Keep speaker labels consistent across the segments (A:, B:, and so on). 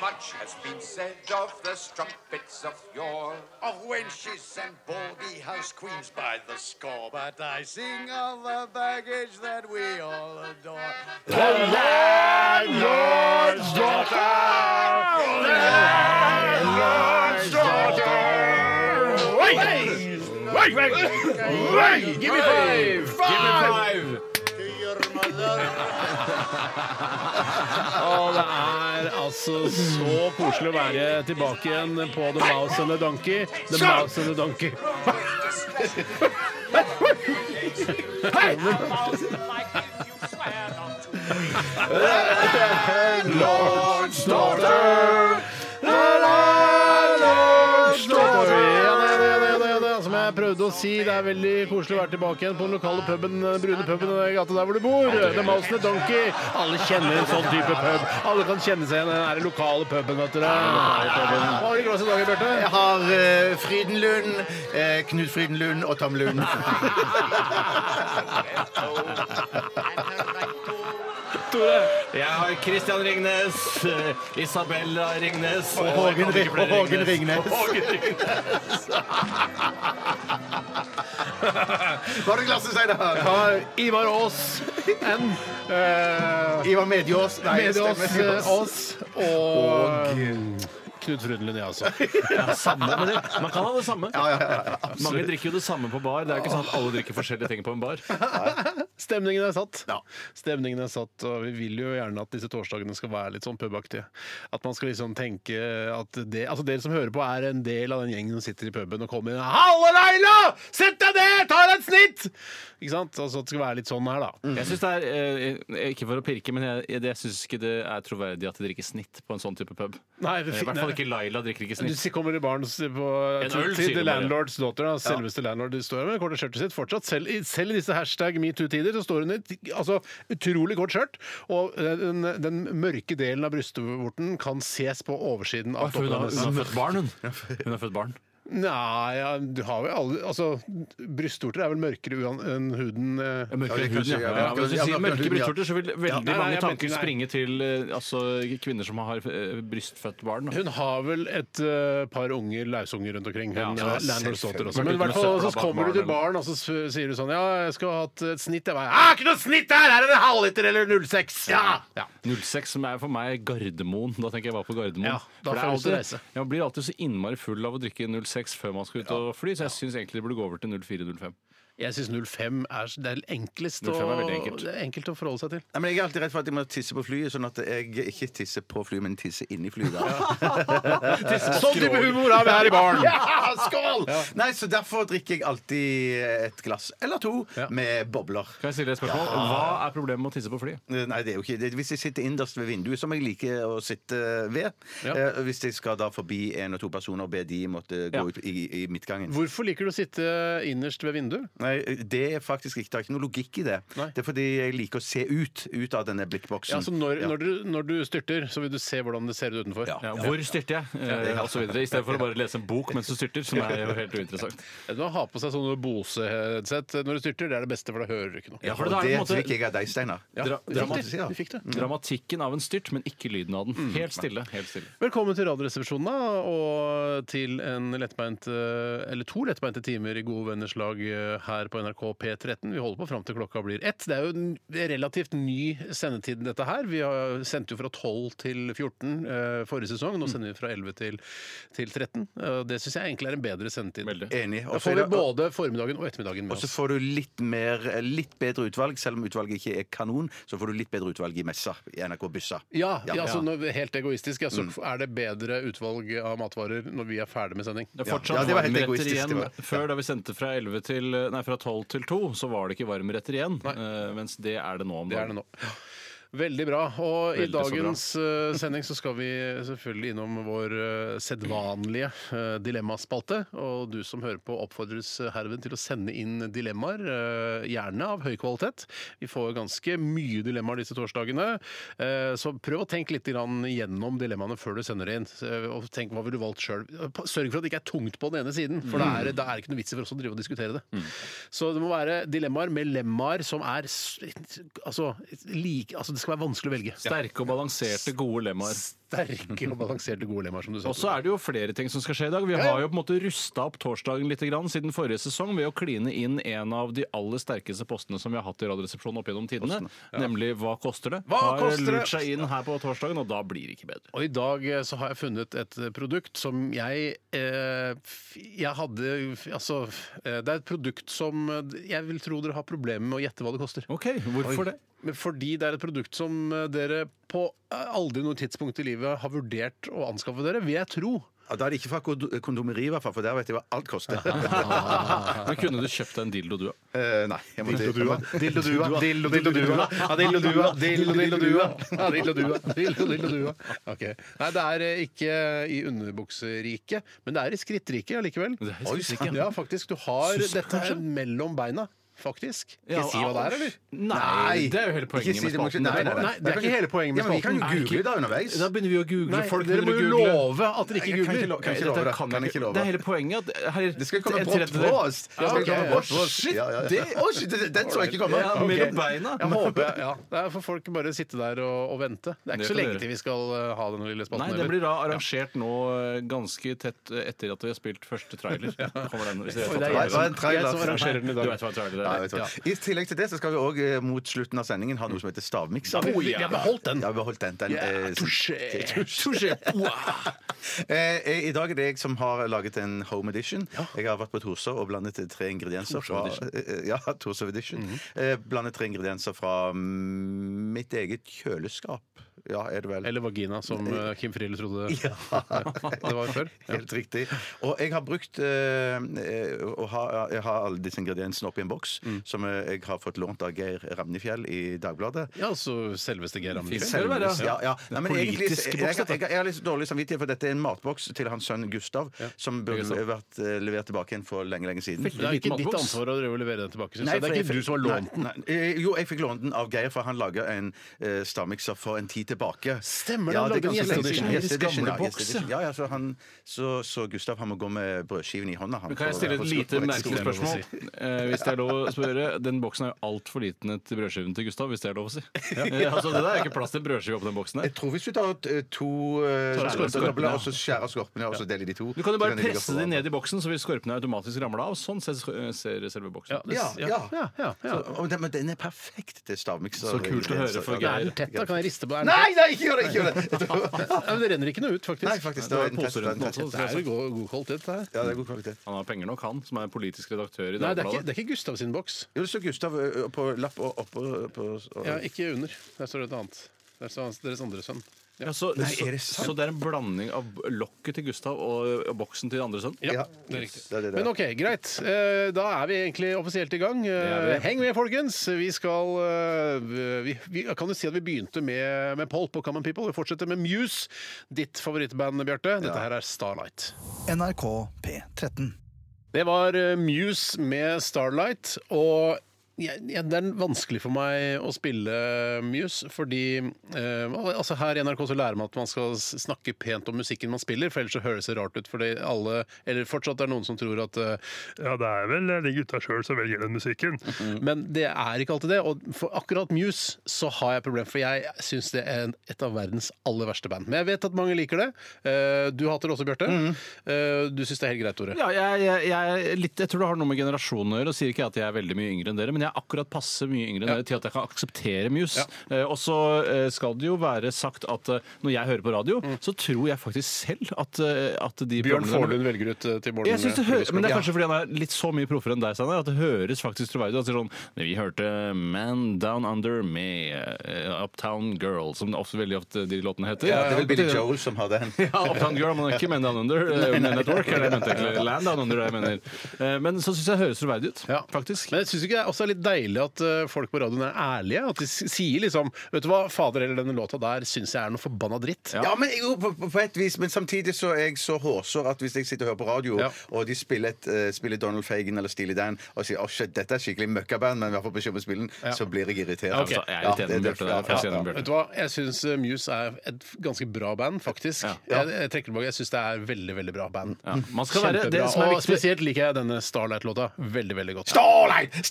A: Much has been said of the strumpets of yore, of wenches and baldy house queens by the score. But I sing of the baggage that we all adore.
B: Og det er altså så koselig å være tilbake igjen på The Mouse and the Donkey. The Mouse and the Donkey. Som jeg prøvde å si, Det er veldig koselig å være tilbake igjen på den lokale puben, den brune puben i den gata der hvor du bor. The Mouse and the Donkey. Alle kjenner en sånn type pub. Alle kan kjenne seg igjen i den her lokale puben, vet dere. Hva har du i glasset i dag, Bjarte?
C: Jeg har eh, Frydenlund, eh, Knut Frydenlund og Tom Lund.
D: Jeg har Christian Ringnes, eh, Isabella Ringnes Og
C: Hågen Ri- og Hågen Ringnes.
D: Hågen Ringnes.
C: Hva har du i glasset, Steinar?
B: Jeg har Ivar Aas. N. Eh,
C: Ivar Medjås. Nei,
B: Med oss,
C: stemmer.
B: eh, oss og eh, Knut Frydenlund, jeg altså.
D: Ja, samme, men det, man kan ha det samme.
C: ja, ja, ja,
D: Mange drikker jo det samme på bar. Det er jo ikke sånn at alle drikker forskjellige ting på en bar.
B: Stemningen er satt. Stemningen er satt, og vi vil jo gjerne at disse torsdagene skal være litt sånn pubaktige. At man skal liksom tenke at det, altså dere som hører på, er en del av den gjengen som sitter i puben og kommer inn Halle, Leila! Sett deg ned! Ta deg et snitt! Ikke sant? Altså at det skal være litt sånn her, da.
D: Jeg synes det er, eh, Ikke for å pirke, men jeg, jeg, jeg syns ikke det er troverdig at de drikker snitt på en sånn type pub.
B: Nei,
D: I hvert fall ikke Laila drikker ikke
B: Du
D: snitt.
B: sier- kommer i baren s- på
D: En
B: til,
D: øl,
B: til
D: sier
B: The
D: du bare.
B: Landlords daughter, da, selveste landlord. De står med korte skjørtet sitt fortsatt. Selv, i- selv i disse hashtag metoo-tider så står hun i et altså, utrolig kort skjørt. Og eh, den, den mørke delen av brystvorten kan ses på oversiden av
D: For
B: toppen.
D: hun har,
B: av
D: hun har
B: nesten.
D: født barn, hun. Hun har født barn.
B: Nei, ja, du har jo alle Altså, brystvorter er vel mørkere uan- enn huden eh.
D: Mørkere
C: det kan
D: hud, ja.
C: jeg-
D: ja. men Hvis du
C: ja,
D: sier
C: mørkere
D: mørke
C: hud, ja.
D: brystvorter, så vil veldig
B: Ja, nei, nei, jeg
D: mange
B: mener
D: tanker
B: ikke-
D: springe til eh, altså, kvinner som har eh, brystfødt barn. da.
B: Hun har vel et eh, par unger, lausunger rundt omkring.
D: Ja,
B: Hun,
D: ja,
B: ja, landlords daughter også.
D: Vært
B: Men i
D: ute
B: hvert
D: med
B: fall så
D: søpla bak
B: kommer du til
D: baren,
B: baren, og så s- sier du sånn Ja, jeg skulle ha hatt et snitt. Jeg bare «Ah, Ikke noe snitt her! Her er det en halvliter eller 06! Ja! ja.
D: 06, som er for meg Gardermoen. Da tenker jeg bare på Gardermoen.
B: Ja, da
D: For det er
B: får du lyst til å
D: alltid-
B: reise.
D: Jeg blir alltid så innmari full av å drikke 06 før man skal ut og fly, så jeg syns egentlig det burde gå over til 04-05.
B: Jeg syns 05 er s- det er enklest
D: 05 er
B: å,
D: veldig enkelt.
B: det er enkelt å forholde seg til.
C: Nei, men Jeg er alltid redd for at jeg må tisse på flyet, sånn at jeg ikke tisser på flyet, men tisser inni flyet. da.
B: Sånn type humor har vi her i baren!
C: Ja, skål! Nei, så Derfor drikker jeg alltid et glass eller to med bobler.
D: Kan jeg stille deg et spørsmål? Hva er problemet med å tisse på fly?
C: Nei, det er jo ikke det. Hvis jeg sitter innerst ved vinduet, som jeg liker å sitte ved
B: Ja.
C: eh, Hvis jeg skal da forbi en og to personer og be de måtte gå
D: Ja.
C: ut i, i midtgangen
B: Hvorfor liker du å sitte innerst ved vinduet?
C: Nei, det er faktisk ikke, det er ikke noe logikk i det.
B: Nei.
C: Det er fordi jeg liker å se ut, ut av denne blikkboksen.
B: Ja, så Altså, når,
C: Ja.
B: når, du, når du styrter, så vil du se hvordan det ser ut utenfor.
C: Ja.
D: Ja, hvor styrter jeg? Eh, og så videre. I stedet for å bare lese en bok mens du styrter, som er jo helt uinteressant.
B: Eh, Du må ha på seg sånne Bose-headset når du styrter. Det er det beste, for da hører du ikke noe.
D: Ja, for
C: Og
D: da er
C: det
D: det på en måte
C: fikk jeg av deg, Steinar.
B: Ja, du fikk
C: dramatisk, ja.
B: det. Du fikk det.
D: dramatikken av en styrt, men ikke lyden av den. Helt stille. Helt stille.
B: Velkommen til Radioresepsjonen da, og til en lettbeint, eh, eller to lettbeinte timer i gode venners lag eh, her på NRK P13. Vi holder på fram til klokka blir ett. Det er jo en relativt ny sendetid, dette her. Vi har sendt jo fra 12 til 14 eh, forrige sesong.
C: Mm.
B: Nå sender vi fra 11 til, til 13. Eh, Det syns jeg egentlig er en bedre sendetid.
D: Veldig.
C: Enig.
B: Da
C: Også
B: får
C: er
B: vi
C: det-
B: både formiddagen og ettermiddagen
C: Og
B: med
C: så
B: oss.
C: får du litt, mer, litt bedre utvalg, selv om utvalget ikke er kanon. Så får du litt bedre utvalg i messa i NRK Byssa.
B: Ja,
C: Ja. Mm.
B: ja, altså, når- helt egoistisk. Ja, så er det bedre utvalg av matvarer når vi er ferdig med sending.
D: Det er
C: Ja.
D: fortsatt
C: Ja, det var helt
D: varmretter
C: egoistisk, det
D: igjen.
C: var-
D: Før, da vi sendte fra, 11 til, nei, fra 12 til 2, så var det ikke varmretter igjen. eh, mens det er det nå om
B: Det er det
D: dagen.
B: nå. Veldig bra. Og i
D: Veldig så bra.
B: dagens eh, sending så skal vi selvfølgelig innom vår eh, sedvanlige eh, dilemmaspalte. Og du som hører på oppfordres eh, herved til å sende inn dilemmaer, eh, gjerne av høy kvalitet. Vi får ganske mye dilemmaer disse torsdagene, eh, så prøv å tenke litt grann gjennom dilemmaene før du sender det inn. Eh, Og tenk hva ville du valgt sjøl. Sørg for at det ikke er tungt på den ene siden, for da
D: Mm.
B: er det, da er det ikke noe vits i for oss å drive og diskutere det. Så det må være dilemmaer med lemmaer som er s- altså, like, altså det skal være vanskelig å velge.
D: Sterke og balanserte, gode lemmaer.
B: Sterke og balanserte gode lemmaer, som du sa.
D: Og så er det jo flere ting som skal skje i dag. Vi
B: ja.
D: har jo på en måte rusta opp torsdagen litt grann, siden forrige sesong ved å kline inn en av de aller sterkeste postene som vi har hatt i Radioresepsjonen opp gjennom tidene, nemlig Hva koster det?
B: Hva
D: har
B: koster det?
D: lurt seg inn her på torsdagen, og da blir det ikke bedre.
B: Og i dag eh, så har jeg funnet et eh, produkt som jeg eh, f- Jeg hadde f- Altså, eh, det er et produkt som eh, jeg vil tro dere har problemer med å gjette hva det koster.
D: OK, hvorfor det?
B: Men fordi det er et produkt som eh, dere på eh, aldri noe tidspunkt i livet har vurdert å anskaffe dere, vil jeg tro.
C: Ja, da er det ikke fra kond- kondomeri, i hvert fall, for der vet jeg hva alt koster.
D: Men kunne du kjøpt deg en dildo, du, da?
C: Eh, Nei. jeg måtte-
B: Dildodua.
C: Dildodua. Dildodua. Ja, Dildodua. Dildodua.
B: Ja, dildodua. Dildodildodua. Ok. Nei, det er eh, ikke i underbukseriket, men det er i skrittriket allikevel.
D: Det er i skrittriket.
B: Ja, faktisk. Du har
D: Susker,
B: dette her
D: kanskje?
B: mellom beina, faktisk. Skal
D: Ja,
B: jeg si hva det er, eller?
D: Nei, det er jo hele
C: Ikke
D: poenget
C: si
D: med
C: det, men-
D: spalten.
C: Nei, nei,
B: Nei, det er ikke hele poenget med
C: Ja, men vi kan jo
D: spalten.
C: google det underveis.
D: Da begynner vi å google.
B: Nei,
D: Folk
B: dere må
D: begynner
B: jo
D: å google.
B: love at dere
C: Jeg
B: ikke
C: kan ikke
B: googler.
C: lo- kan ikke love
D: Dette
C: det.
D: kan
C: Kan ikke
D: jeg ikke-
C: love
D: Det
C: det.
D: er hele poenget. At her,
C: Det skal komme
D: en
C: brått
D: tredjedel-
C: på oss! Det skal
B: Ja, ok.
C: komme brått på oss.
D: Shit,
C: Ja, ja, ja.
D: det-
C: Å, shit, det- den så jeg ikke komme.
D: Ja,
C: Ok.
D: mellom beina.
B: Jeg håper, ja. Det er for folk bare sitte der og, og vente. Det er ikke
D: Det
B: så
D: kan
B: lenge
D: dere.
B: til vi skal eh, ha denne lille spalten.
D: Nei, den
B: heller.
D: blir da arrangert nå eh, ganske tett eh, etter at vi har spilt første trailer. Kommer den, hvis dere
B: Oi,
D: vet
B: det
D: hva
B: er
C: Nei,
B: jeg
C: det var en trailer.
B: som, jeg
D: trailer
B: som arrangerer den i
D: er. Du
B: dag.
D: vet hva trailer
C: Ja,
D: er.
C: jeg vet hva. I tillegg til det så skal vi òg mot slutten av sendingen ha noe som heter stavmikser.
B: Oi, vi har beholdt den.
C: Ja, vi har beholdt den. den eh,
B: Yeah, touché.
C: Eh, eh, I dag er det jeg som har laget en home edition. Jeg har vært på Torshov og blandet eh, tre ingredienser fra eh, eh, Ja, Torshov edition. eh, blandet tre ingredienser fra mm, mitt eget kjøleskap. Ja, er det vel.
B: Eller vagina, som eh, Kim Friele trodde det var før. Ja.
C: Helt riktig. Og jeg har brukt eh, eh, og har, Jeg har alle disse ingrediensene oppi en boks som eh, jeg har fått lånt av Geir Ramnefjell i Dagbladet.
B: Ja, altså selveste Geir Amundsen.
D: Selv-
C: Selveste,
D: Selveste,
C: ja. ja. Nei, men egentlig,
D: politisk
C: jeg,
D: boks,
C: jeg,
D: dette.
C: jeg, jeg har litt dårlig samvittighet, for dette er en matboks til hans sønn Gustav, som burde vært eh, levert tilbake igjen for lenge, lenge siden.
B: Det er ikke ditt ansvar å drive og levere den tilbake. Synes jeg. det er ikke du som har lånt den.
C: den? Eh, Jo, jeg fikk lånt den av Geir, for han laga en eh, stavmikser for en tid tilbake.
B: Stemmer det,
C: ja,
B: han
C: det er
B: lagde en
C: ganske lenge siden.
B: gjesteaudition.
C: Gjesteaudition, ja,
D: Gamle boks,
C: gjesteaudition. Ja, ja, så, han, så, så Gustav han må gå med brødskiven i hånda. Han,
D: Kan jeg
C: for å
D: stille
C: være
D: et
C: på
D: lite
C: skolen.
B: det er
D: merkelig
B: lov å
D: spørsmål? Eh, hvis det er lov å spørre Den boksen er jo altfor liten til brødskiven til Gustav, hvis det er lov å si. Eh, altså, det der er ikke plass til brødskive oppi den boksen
C: Jeg
D: her.
C: tror hvis du tar eh, to eh,
D: Tar av
C: skorpene,
D: skorpene,
C: og så skjærer skorpene, og så deler de to
D: Du kan jo
C: så
D: bare
C: de ligge
D: presse
C: på
D: de
C: hverandre.
D: ned i boksen, så vil skorpene automatisk ramle av. Sånn ser, ser selve boksen.
B: Ja, det-
C: Ja, ja.
B: ja, ja, ja.
C: Så- og den- Men den er perfekt til stavmikser.
D: Så kult å høre for
C: Ja,
B: Er den tett, da? Kan jeg riste på den?
C: Nei, nei, ikke gjør det! Ikke gjør det.
B: Ja, men det renner ikke noe ut, faktisk.
C: Nei, faktisk. Det
D: Det
C: var
D: var
C: en test.
D: poser
C: det var en
D: rundt
C: test.
B: Det
D: den
B: er jo god, god kvalitet, det her.
C: Ja, det er god kvalitet.
D: Han har penger nok, han, som er politisk redaktør
B: Nei,
D: i
B: det er ikke,
D: Dagbladet.
B: det er ikke Gustav sin boks.
C: Jo, det står Gustav ø, ø, på lapp og oppå på, og-
B: Ja, ikke under. Der står det et annet. Der står hans- deres andre sønn.
D: Ja, så,
C: Nei,
D: så,
C: er det sant?
D: så det er en blanding av lokket til Gustav og, og boksen til den andre sønnen?
B: Ja,
C: Ja,
B: det er riktig.
C: det er det det er.
B: Men ok, greit. Eh, Da er vi egentlig offisielt i gang. Eh,
D: Det er vi.
B: Heng med, folkens! Vi skal eh, vi, vi, Kan jo si at vi begynte med, med Polp og Common People. Vi fortsetter med Muse, ditt favorittband, Bjarte. Dette her er Starlight.
E: NRK P13.
B: Det var eh, Muse med Starlight, og jeg, jeg, det er vanskelig for meg å spille Muse, fordi eh, al- altså Her i NRK så lærer man at man skal s- snakke pent om musikken man spiller, for ellers så høres det rart ut. Fordi alle, eller fortsatt er det noen som tror at eh,
F: Ja, det er vel eh, de gutta sjøl som velger den musikken.
B: Mhm. Men det er ikke alltid det. Og for akkurat Muse så har jeg problem, for jeg syns det er en- et av verdens aller verste band. Men jeg vet at mange liker det. Eh, Du hater det også, Bjarte. Eh, Du syns det er helt greit, Tore.
D: Ja, jeg, jeg, jeg, er litt, jeg tror det har noe med generasjonen å gjøre. Og sier ikke at jeg er veldig mye yngre enn dere, men jeg er akkurat passe mye yngre enn dere til at jeg kan akseptere Muse. Eh, og så eh, skal det jo være sagt at eh, når jeg hører på radio,
C: Mm.
D: så tror jeg faktisk selv at, eh, at de
B: Bjørn
D: programmene-
B: Forlund velger ut eh, til morgen.
D: Jeg synes det hø- men det er
B: Ja.
D: kanskje fordi han er litt så mye proffere enn deg, Steinar, at det høres faktisk troverdig ut. Altså sånn, vi hørte Man Down Under med eh, Uptown Girl, som det ofte, veldig ofte de låtene heter.
C: Ja, det er vel Billy Joel som har den.
D: Ja, Uptown Girl, men ikke Men Down Under. eh, Men at Work, eller jeg mente egentlig Land Down Under. Jeg mener. Eh, Men så syns jeg det høres troverdig ut,
B: Ja.
D: faktisk.
B: Men jeg syns ikke det er også er litt litt deilig at eh, folk på radioen er ærlige. At de s- sier liksom Vet du hva, fader eller denne låta der syns jeg er noe forbanna dritt.
C: Ja, men jo, på, på- på et vis, men samtidig så er jeg så hårsår at hvis jeg sitter og hører på radio,
B: Ja.
C: og de spiller, et, eh, spiller Donald Fagan eller Steely Dan og sier 'Å, shit, dette er skikkelig møkkaband', men i hvert fall på kjøpespillen, så blir jeg irritert.
B: Ja, ok.
C: altså.
D: Jeg er litt enig med Bjarte der.
C: ja,
D: Faktisk
C: ja,
D: enig med
C: ja.
D: Bjarte.
B: Vet du hva, Jeg syns Muse er et f- ganske bra band, faktisk. Jeg, jeg trekker tilbake, jeg syns det er veldig veldig bra band.
D: Ja, man skal være- det
B: Kjempebra,
D: som er
B: Og
D: viktig-
B: spesielt liker jeg denne Starlight-låta veldig veldig godt.
C: Starlight!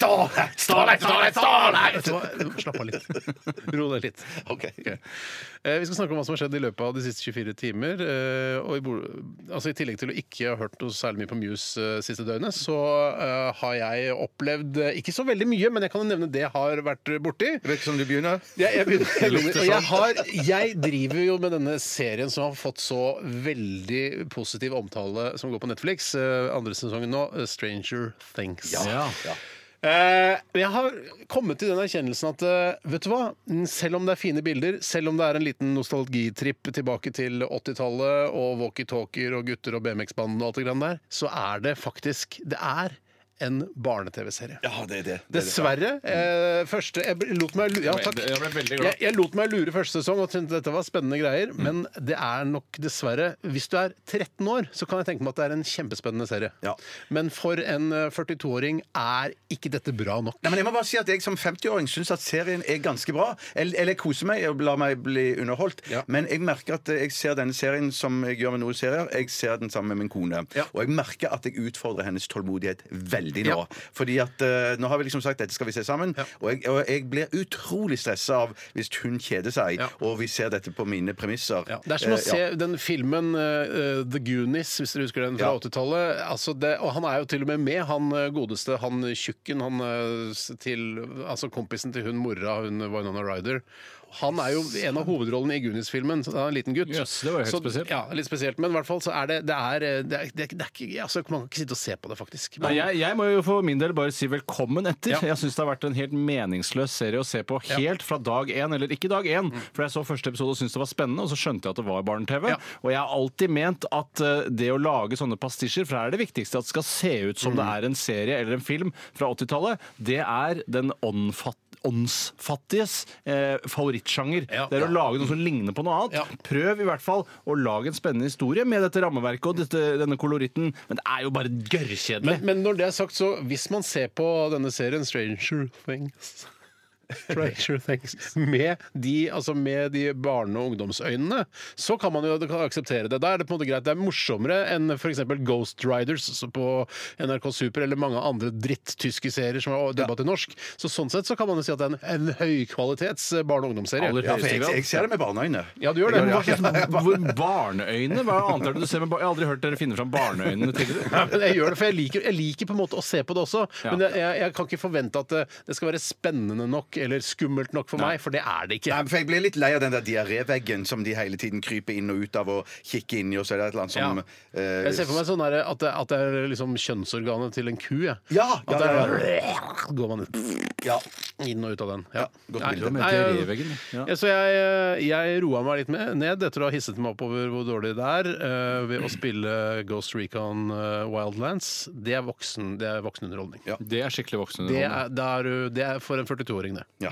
C: Starlight! Starlight! Starlight!
B: Vet
C: Starlight!
B: du hva? Slapp av litt. Ro deg litt.
C: Ok.
B: Ok. Eh, Vi skal snakke om hva som har skjedd i løpet av de siste 24 timer. eh, Og i, bol- altså, I tillegg til å ikke ha hørt noe særlig mye på Muse eh, siste døgnet, så eh, har jeg opplevd eh, ikke så veldig mye, men jeg kan jo nevne det jeg har vært borti.
C: Virker som du begynner.
B: Jeg, jeg, begynner, jeg, begynner, og jeg, har, jeg driver jo med denne serien som har fått så veldig positiv omtale som går på Netflix. eh, Andre sesongen nå, eh, 'Stranger Things'.
D: Ja.
B: Eh, jeg har kommet til den erkjennelsen at eh, vet du hva? selv om det er fine bilder, selv om det er en liten nostalgitripp tilbake til 80-tallet og walkietalkier og gutter og BMX-banden og alt det grann der, så er det faktisk Det er en barne-TV-serie.
C: Ja, det er det. det, er det.
B: Dessverre. Eh, første Jeg bl- lot meg lure ja, takk.
D: Jeg ble veldig glad.
B: Jeg, jeg lot meg lure første sesong og tenkte dette var spennende greier, men det er nok dessverre Hvis du er 13 år, så kan jeg tenke meg at det er en kjempespennende serie.
C: Ja.
B: Men for en eh, 42-åring er ikke dette bra nok.
C: Nei, men jeg må bare si at jeg som 50-åring syns at serien er ganske bra. Eller, eller jeg koser meg og lar meg bli underholdt.
B: Ja.
C: Men jeg merker at jeg ser denne serien som jeg gjør med noen serier. Jeg ser den sammen med min kone.
B: Ja.
C: Og jeg merker at jeg utfordrer hennes tålmodighet veldig nå.
B: Ja.
C: Fordi at eh, nå har vi liksom sagt dette skal vi se sammen. Og, jeg, og jeg blir utrolig stressa av hvis hun kjeder seg,
B: Ja.
C: og vi ser dette på mine premisser.
B: Ja. Det er som å
C: Eh,
B: se
C: ja.
B: den filmen eh, eh, The Goonies, hvis dere husker den fra
C: Ja.
B: 80-tallet. Altså det- og han er jo til og med med, han eh, godeste, han tjukken, han eh, s- til Altså kompisen til hun mora, hun Winona Ryder. Han er jo en av hovedrollene i Goonies-filmen. så Han er en liten gutt.
D: Jøss, det var jo helt
B: Så-
D: spesielt.
B: Ja, litt spesielt. Men i hvert fall så er det Det er, eh, det er, det er, det er ikke altså, Man kan ikke sitte og se på det, faktisk.
D: Nei, jeg, jeg må jo for min del bare si velkommen etter.
B: Ja.
D: Jeg syns det har vært en helt meningsløs serie å se på helt fra dag én, eller ikke dag én. For jeg så første episode og syntes det var spennende, og så skjønte jeg at det var barne-TV.
B: Mm. Ja.
D: Og jeg har alltid ment at eh, det å lage sånne pastisjer, for her er det viktigste at det skal se ut som
B: Mm.
D: det er en serie eller en film fra 80-tallet, det er den åndfatt- åndsfattiges eh, favorittsjanger.
B: Ja.
D: Det er å lage noe som ligner på noe annet.
B: Ja.
D: Prøv i hvert fall å lage en spennende historie med dette rammeverket og dette, denne koloritten, men det er jo bare gørrkjedelig.
B: Men, men når det er sagt, så hvis man ser på denne serien Stranger Things Stranger Things med de, altså med de barne- og ungdomsøynene, så kan man jo kan akseptere det. Da er det på en måte greit. Det er morsommere enn f.eks. Ghost Riders så på NRK Super eller mange andre dritt-tyske serier som er dubba til norsk. Så sånn sett så kan man jo si at det er en, en høykvalitets barne- og ungdomsserie.
D: Aller
C: Ja, for jeg, jeg ser det med barneøyne.
B: Ja, du gjør det.
D: Hva slags hvor- barneøyne? Hva annet er det du ser med bar Jeg har aldri hørt dere finne fram barneøynene tidligere.
B: Men jeg gjør det, for jeg liker, jeg liker på en måte å se på det også.
D: Ja.
B: Men jeg, jeg, jeg kan ikke forvente at det, det skal være spennende nok eller skummelt nok for meg, for det er det ikke.
C: Nei, for Jeg blir litt lei av den der diaréveggen som de hele tiden kryper inn og ut av og kikker inn i. og så er det et eller annet som...
B: Ja.
C: eh,
B: Jeg ser for meg sånn der, at, det, at det er liksom kjønnsorganet til en ku. Jeg.
C: Ja,
B: at
C: ja,
B: det
C: ja,
B: er, Går man ut,
C: ja.
B: inn og ut av den. Ja.
C: godt
B: Nei,
C: bilde.
B: nei,
D: Diaréveggen, ja.
B: ja, Så jeg, eh, jeg roa meg litt med, ned etter å ha hisset meg opp over hvor dårlig det er, eh, ved å spille Ghost Recon eh, Wildlands. Det er voksen, det er voksen underholdning.
D: Det er skikkelig voksen
B: Det er, det er, det er for en 42-åring, det.
C: Ja.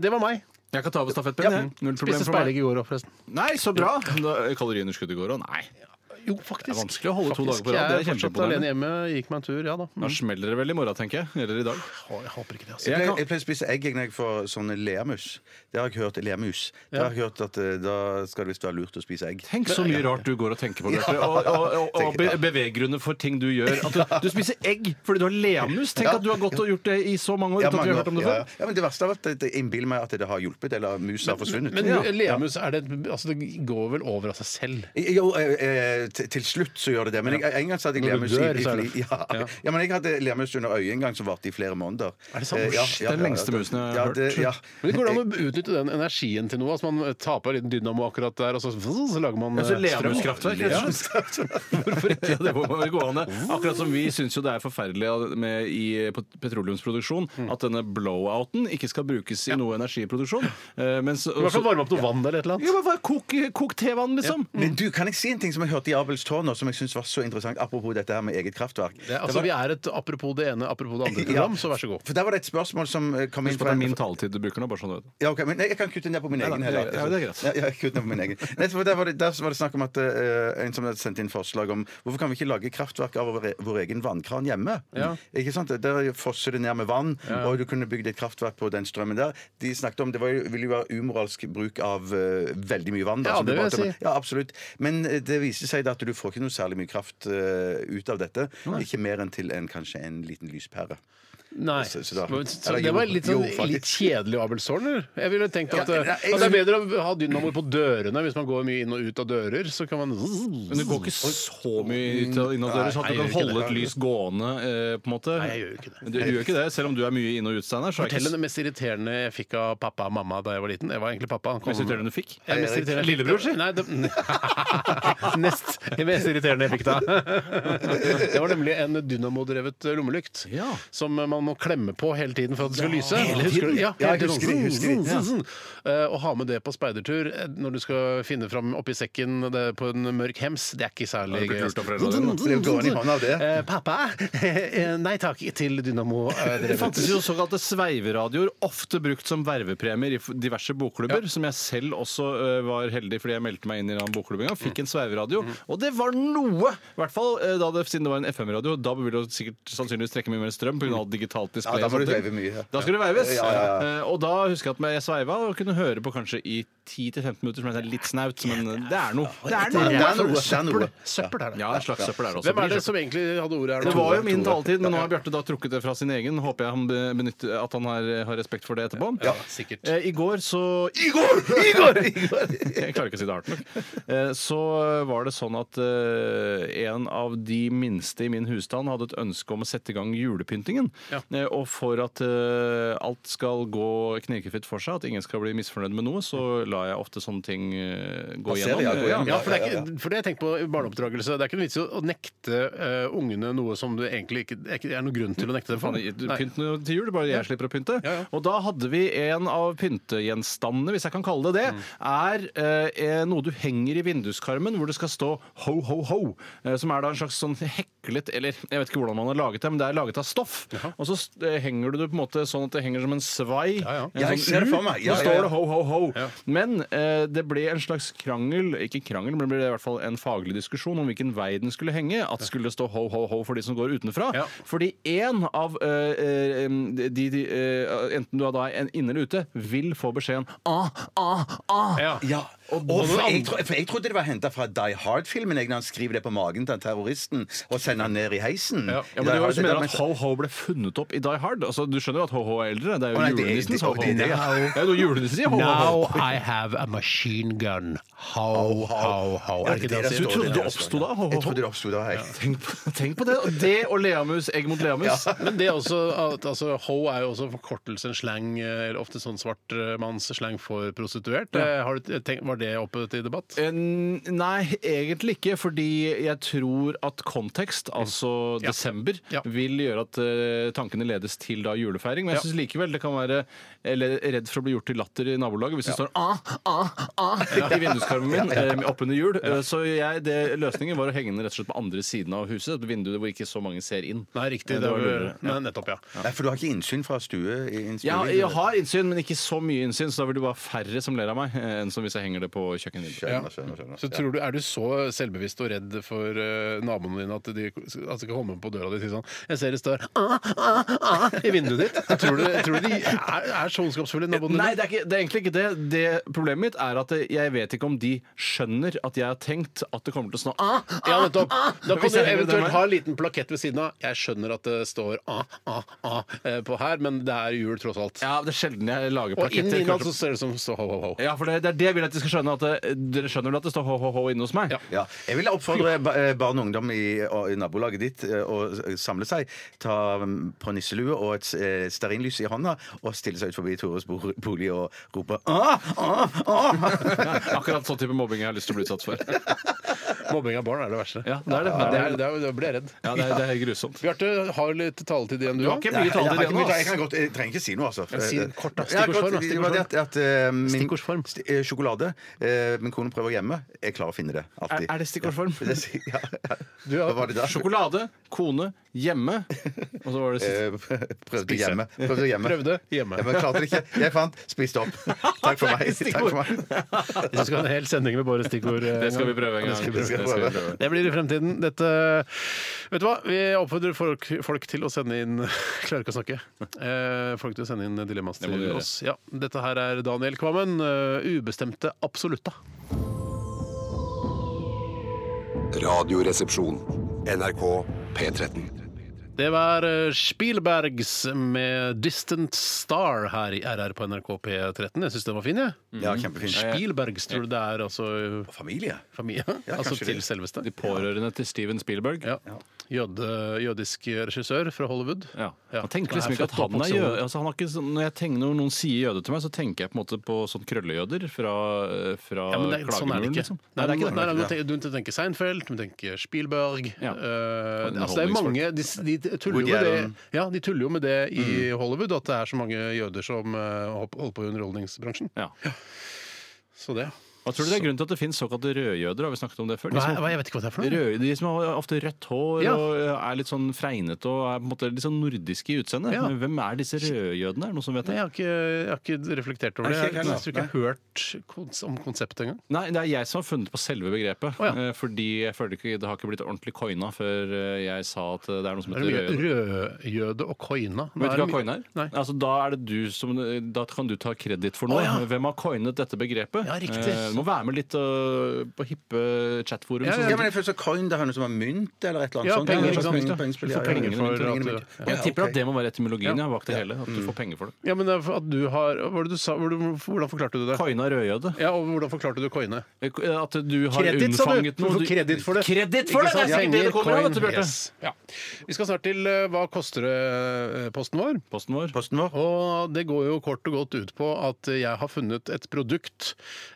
B: Det var meg.
D: Jeg kan ta over stafettpinnen. jeg. Null problem
B: Spiste
D: for
B: speilegg
D: meg.
B: i går òg, forresten.
D: Nei, så bra! Da- Kaloriunderskudd i går òg? Nei.
B: Jo, faktisk.
D: Det er vanskelig å holde to
B: Faktisk,
D: dager på rad, det
B: Jeg
D: er
B: er fortsatt
D: kjempeimponerende.
B: alene hjemme, gikk meg en tur, ja da. Mm.
D: Da smeller det vel i morgen, tenker jeg. Eller i dag.
B: Å, Jeg håper ikke det, altså.
C: Jeg,
D: Jeg
C: pleier,
D: kan-
C: jeg pleier å spise egg jeg, når jeg får sånne lermus. Det har jeg hørt. Lermus. Det har jeg hørt at eh, Da skal det visst være lurt å spise egg.
D: Tenk så mye rart du går og tenker på, Bjarte. Og, og, og, og be beveggrunner for ting du gjør. At du, du spiser egg fordi du har leamus. Tenk at du har gått og gjort det i så mange år
C: Ja,
D: uten at vi
C: mange
D: har hørt
C: år.
D: om det
C: ja,
D: før.
C: ja. ja, men Det verste er at jeg innbiller meg at det har hjulpet, eller musa har forsvunnet.
B: Men
C: ja.
B: leamus, er det, altså, det går vel over av seg selv?
C: Jo, eh, eh, til til slutt så gjør det det. Men jeg, en gang så hadde jeg
B: Når du
C: lemus
B: dør,
C: i, i
B: så er
C: fli,
B: det-
C: ja.
B: Ja.
C: ja, men jeg hadde lemus under øyet en gang som varte i flere måneder.
B: Er det sant?
C: Eh, ja,
B: Usch,
C: ja,
D: den
C: ja,
D: lengste
C: ja,
D: musen jeg har
C: ja,
D: hørt.
C: det- Ja.
B: Men Det går an å utnytte den energien til noe. Altså, man taper litt dynamo akkurat der, og så, så lager man
D: Altså
B: eh, strøm.
D: Leamuskraftverk.
B: Ja.
D: Hvorfor ikke? Det må jo gå an, det. Akkurat som vi syns jo det er forferdelig med i pot- petroleumsproduksjon
B: Mm.
D: at denne blowouten ikke skal brukes i noe energiproduksjon. Eh, Mens
B: I hvert fall varme opp noe vann eller et eller annet.
D: ja, men bare kok, kok tevann, liksom!
C: Men du, kan jeg si en ting som jeg hørte i Babelstårn, som jeg syns var så interessant, apropos dette her med eget kraftverk.
B: Det, er- altså,
C: Det
B: vi er et apropos det ene, apropos det andre
C: Ja.
B: program, så vær så god.
C: For Der var det et spørsmål som eh, kom inn
D: Husk på
C: fra
D: at det er
C: en-
D: min taletid du bruker nå, bare sånn du vet.
C: Ja, ok, men nei, jeg kan kutte ned på min
D: Nei,
C: egen
D: nei,
C: heller.
D: det- ja, det er greit.
C: Ja, ja, jeg kutter ned på min egen. Nei, for der, var det, der var det snakk om at eh, en som hadde sendt inn forslag om hvorfor kan vi ikke lage kraftverk av vår, vår egen vannkran hjemme?
B: Ja.
C: Ikke sant? Der fosser det ned med vann, og du kunne bygd et kraftverk på den strømmen der. De snakket om, Det var, jo- ville jo være umoralsk bruk av eh, veldig mye vann.
B: Ja,
C: som
B: det
C: du
B: vil
C: prater
B: jeg
C: om.
B: si.
C: Ja, absolutt. Men eh, det viste seg da at du får ikke noe særlig mye kraft eh, ut av dette. Ikke mer enn til en, kanskje en liten lyspære.
B: Nei.
C: Så- så da-
B: Men- så
C: Eller
B: det var
C: jo,
B: litt, sånn,
C: jo, faktisk.
B: litt kjedelig Abelstårn, eller? Jeg ville tenkt at,
C: Ja,
B: eh,
C: nei,
B: at
C: jeg-
B: det er bedre å ha dynamoer på dørene hvis man går mye inn og ut av dører. Så kan man
D: Men det går ikke så mye innadørs at
B: Nei,
D: du
B: jeg
D: kan
B: gjør ikke
D: holde et lys gående, eh, på en måte.
B: Nei, jeg gjør jo ikke det.
D: Men Du gjør ikke det, selv om du er mye inn- og utsteiner. Så er
B: Fortell
D: det
B: om det
D: ikke
B: mest irriterende jeg fikk av pappa og mamma da jeg var liten. Jeg var egentlig pappa. Han kom-
D: så irriterende du fikk.
B: Eh, mest
C: Erik.
B: irriterende-
D: Lillebror, si.
B: Nei, det... Nest. Det mest irriterende jeg fikk da. Det var nemlig en dynamodrevet lommelykt
D: Ja.
B: som man må klemme på hele tiden for at det skal lyse.
D: hele
B: Husker du-
D: tiden?
B: Ja,
C: Ja,
B: hele
C: jeg husker
B: tiden.
C: det, husker det.
B: Zzzz, zzzz. Eh, Å ha med det på speidertur eh, når du skal finne fram oppi sekken det, på en mørk hems, det er ikke særlig gøy.
D: blitt lurt av foreldrene dine, da.
B: Zzzz, zzzz,
C: Det er jo dårlig hånd av det.
B: Eh, Pappa, eh, nei takk til dynamo. eh, drevet.
D: Det fantes jo såkalte sveiveradioer, ofte brukt som vervepremier i f- diverse bokklubber, som jeg selv også ø, var heldig fordi jeg meldte meg inn i en annen bokklubb en gang,
C: Mm.
D: fikk en sveiveradio, og det var noe! I hvert fall ø, da det, siden det var en FM-radio, da ville du sikkert sannsynligvis trekke mye mer strøm pga. digitalt
C: Mm.
D: display.
C: Ja, da
D: og
C: må
D: sånne
C: du
D: ting.
C: veive mye, ja.
D: Da skulle det veives.
C: Ja, ja,
D: Eh, Og da husker jeg at jeg sveiva og kunne høre på kanskje i 10-15 minutter, som jeg er litt snaut, men det er noe. Det er
C: Det
D: noe.
C: er noe, det er noe.
B: Søppel er det.
D: Ja, en slags søppel er det også.
B: Hvem er det som egentlig hadde ordet her nå?
D: Det var jo min taletid, men nå har Bjarte da trukket det fra sin egen. Håper jeg han be- benytter, at han har, eh, har respekt for det etterpå.
B: Ja, sikkert.
D: Eh, I går så I går! Jeg klarer ikke å si det hardt nok. Eh, Så var det sånn at eh, en av de minste i min husstand hadde et ønske om å sette i gang julepyntingen.
B: Ja.
D: Eh, Og for at eh, alt skal gå knirkefritt for seg, at ingen skal bli misfornøyd med noe, så lar jeg ofte sånne ting eh, gå
C: Passere,
D: gjennom.
C: ja, gå gjennom,
B: Ja, for det, er ikke, for det jeg tenker på i barneoppdragelse. Det er ikke noe vits i å nekte eh, ungene noe som du egentlig ikke det er ikke- det er noen grunn til å nekte dem for.
D: Faen, jeg- du- Pynt noe til jul, bare jeg slipper å pynte.
B: Ja, ja.
D: Og da hadde vi en av pyntegjenstandene, hvis jeg kan kalle det det,
C: Mm.
D: er eh, noe du henger i vinduskarmen hvor det skal stå ho, ho, ho. Eh, som er da en slags sånn heklet Eller jeg vet ikke hvordan man har laget det, men det er laget av stoff. Og så eh, henger du det på en måte sånn at det henger som en svai.
B: Ja, ja.
D: En
C: Jeg
D: sånn
C: ser det
D: U,
C: for meg. Ja,
D: så
C: ja,
D: står
C: ja.
D: det ho, ho, ho.
B: Ja.
D: Men eh, det ble en slags krangel, ikke krangel, men det ble i hvert fall en faglig diskusjon om hvilken vei den skulle henge. At skulle det stå ho, ho, ho for de som går utenfra.
B: Ja.
D: Fordi én av eh, eh, de, de eh, enten du er da en inne eller ute, vil få beskjeden ah, ah, ah.
B: Ja.
C: Ja. Og for jeg, tro, for jeg trodde det var henta fra Die Hard-filmen, jeg, når han skriver det på magen til terroristen og sender han ned i heisen.
B: Ja,
D: Ja, men
C: Die
D: det var
C: Hard,
D: jo som
C: det
D: mener
C: der
D: at Ho Ho ble funnet opp i Die Hard. Altså, du skjønner jo at Ho Ho er eldre. Det er
C: Å,
D: jo
C: nei, det- det-
D: julenissens Ho Ho.
C: det- det- ja.
D: Det er jo julenissens Ho Ho.
B: I have a machine gun. How, how, how.
C: Ja, det er
B: han
C: det som
B: sier?
D: Du
C: står
D: trodde det
C: der.
D: oppsto da? Ho
C: Jeg
D: Ho.
C: trodde det oppsto da. Jeg.
D: Tenk på, tenk på det! og Det og leamus, egg mot leamus.
B: Men det er også, at, altså, ho er jo også en forkortelse, en slang, eh, eller ofte sånn svartmannsslang for prostituert. Eh, Har du tenkt, var det oppe til debatt?
D: Eh, Nei, egentlig ikke, fordi jeg tror at kontekst, altså desember,
B: Mm. Ja.
D: vil gjøre at eh, tankene ledes til da julefeiring. Men jeg
B: Ja.
D: syns likevel det kan være eller, redd for å bli gjort til latter i nabolaget hvis det står ah, ah, ah i vinduskarmen min eh, oppunder jul. Eh, Så jeg, det, løsningen var å henge den rett og slett på andre siden av huset, et vindu hvor ikke så mange ser inn.
B: Nei, riktig.
D: Eh,
B: Det
D: var
B: var,
D: lurere.
B: nei, nettopp, ja.
C: Nei, for du har ikke innsyn fra stue? I i en stue
D: Ja, jeg har innsyn, men ikke så mye innsyn, så da vil det være færre som ler av meg, eh, enn som hvis jeg henger det på kjøkkenvinduet.
C: Skjønner, skjønner, skjønner.
B: Så tror du, Er du så selvbevisst og redd for eh, naboene dine at de at de kan komme på døra di og si sånn 'Jeg ser det står ah, ah, ah, i vinduet ditt'. Tror du, tror du de er, er så ondskapsfulle, naboene
D: Nei,
B: dine?
D: det er, ikke, det er egentlig ikke det. det. Problemet mitt er at jeg vet ikke om de skjønner at jeg har tenkt at det kommer til å snå ah, ah,
B: Ja, nettopp. Da kan
D: Hvis
B: du
D: jeg henger den
B: eventuelt
D: veien.
B: ha en liten plakett ved siden av. Jeg skjønner at det står ah, ah, ah eh, på her, men det er jul tross alt.
D: Ja, det er sjelden jeg lager
B: Og inn
D: plaketter.
B: innad
D: kanskje.
B: så ser det ut som står ho, ho, ho.
D: Ja, for det, det er det jeg vil at de skal skjønne. At det, dere skjønner vel at det står ho-ho-ho inne hos meg?
B: Ja.
C: Ja. Jeg vil oppfordre ba- eh, barn og ungdom i, og, i nabolaget ditt eh, å s- samle seg, ta mm, på nisselue og et eh, stearinlys i hånda og stille seg ut forbi Tores bo- bolig og rope ah, ah, ah.
D: Akkurat sånn type mobbing jeg har lyst til å bli utsatt for.
B: Mobbing av barn er det verste.
D: Ja, det er det.
B: det er, det er, da blir jeg redd.
D: Ja, det er, det er grusomt.
B: Bjarte, har du litt taletid igjen, du
D: Du har
B: også?
D: ikke mye
C: Jeg, har ikke
D: taletid igjen
C: mye
D: nå.
C: tid. jeg,
D: ass.
C: kan godt, jeg trenger ikke si noe, altså.
B: si det kort, da.
C: Ja, jeg kan
B: Stikkordsform, da.
C: godt- det var det at- at, eh, min-
B: Stikkordsform.
C: sti- eh, Sjokolade. eh, Min kone prøver hjemme. Jeg klarer å finne det alltid.
D: Er- er det stikkordsform?
C: Det si- ja.
B: Du har-
C: Hva var det da?
D: Sjokolade, kone, hjemme. Og så var det siste.
C: Eh, Prøvde hjemme. Prøvde hjemme.
B: Prøvde hjemme.
C: Ja, men klarte det ikke. Jeg fant spiste opp. Takk for meg.
D: Det er ikke
C: Takk for meg.
B: Vi skal ha en hel sending med bare stikkord. eh,
D: Det skal vi prøve en gang.
B: Det skal vi prøve.
C: vi prøve.
B: Det blir i fremtiden. Dette Vet du hva? Vi oppfordrer folk, folk til å sende inn Klarer ikke å snakke. Eh, folk til å sende inn dilemmas
D: må
B: til
D: du gjøre.
B: oss. Ja, dette her er Daniel Kvammen. eh, ubestemte absolutta.
G: Radioresepsjon. NRK P13.
B: Det var eh, Spielbergs med 'Distant Star' her i RR på NRK P13. Jeg syns den var fin, jeg.
D: Mm.
C: Ja, kjempefint.
B: Spielbergs tror du det er altså
C: Familie.
B: familie? altså
C: kanskje
B: til
C: det.
B: selveste?
D: De pårørende til Steven Spielberg.
B: Ja. Jøde, jødisk regissør fra Hollywood.
D: Ja.
B: Ja.
D: Man tenker
B: Han
D: liksom
B: er
D: ikke at
B: født og
D: han er
B: oppvokst i
D: jøde.
B: Hollywood.
D: Altså, han har ikke, sånn- når, jeg tenker, når noen sier jøde til meg, så tenker jeg på en måte på sånn krøllejøder fra, fra
B: Ja, men det, er- sånn er det
D: klagemuren.
B: ikke.
D: liksom.
B: Nei, det er ikke det. Nei, nei,
D: Ja.
B: du, tenker, du tenker Seinfeld, du tenker Spielberg
D: Ja.
B: eh, altså, Det er mange de, de, tuller
C: Woody
B: jo med det,
C: Allen.
B: ja, de tuller jo med det i
D: Mm.
B: Hollywood, at det er så mange jøder som eh, hopp- holder på i underholdningsbransjen.
D: Ja.
B: Så det.
D: Hva tror du det er grunnen til at det finnes såkalte rødjøder? Har vi snakket om det før? De som-
B: jeg vet ikke hva det er
D: Røde, de som har ofte rødt hår
B: Ja.
D: og er litt sånn fregnete og er på en måte litt sånn nordiske i utseendet.
B: Ja.
D: Men hvem er disse rødjødene? Er det noen som vet
B: Nei,
D: det?
B: jeg, har ikke, jeg har ikke reflektert over det. Jeg, jeg tror ikke jeg har hørt kons om konseptet engang.
D: Nei, det er jeg som har funnet på selve begrepet.
B: Å, ja.
D: eh, Fordi jeg føler ikke det har ikke blitt ordentlig coina før eh, jeg sa at det er noe som
B: Er det
D: heter
B: mye
D: rødjøde.
B: rødjøde og koina? Nå
D: Vet du
B: er
D: hva
B: det mye-
D: coin er?
B: Nei.
D: Altså, da, er det du som, da kan du ta kreditt for
B: Å,
D: noe.
B: ja.
D: Hvem har coinet dette begrepet?
B: Ja, riktig.
D: Eh, du må være med litt øh, på hippe chatforum.
B: Ja,
D: sånn.
C: Ja, men jeg føler så coin, det er noe som er mynt eller et eller annet
B: Ja,
C: sånt.
B: penger,
C: Ja,
B: ikke sant?
C: penger, pengespill,
B: Du
C: ja,
B: får
C: ja,
B: penger
C: ja. Pengene,
B: for at du-
C: pengene, pengene.
D: Jeg tipper at det må være
B: Ja.
D: etymologien
B: Mm.
D: ja, bak det hele. At du får penger for det.
B: Ja, men det er for at du har Hva var det du sa? Hvordan, hvordan forklarte du det?
D: Coina rødjøde.
B: Ja, og hvordan forklarte du koine?
D: Eh, At du har
B: Kreditt, sa du!
D: unnfanget
B: Du
D: noe
B: får kreditt for det.
D: Kreditt for det! Det er sikkert det det kommer av, vet du, Bjarte.
B: Yes. Ja. Vi skal snart til eh, Hva koster det-posten vår.
D: Posten vår.
C: Posten vår.
B: Og det går jo kort og godt ut på at jeg har funnet et produkt,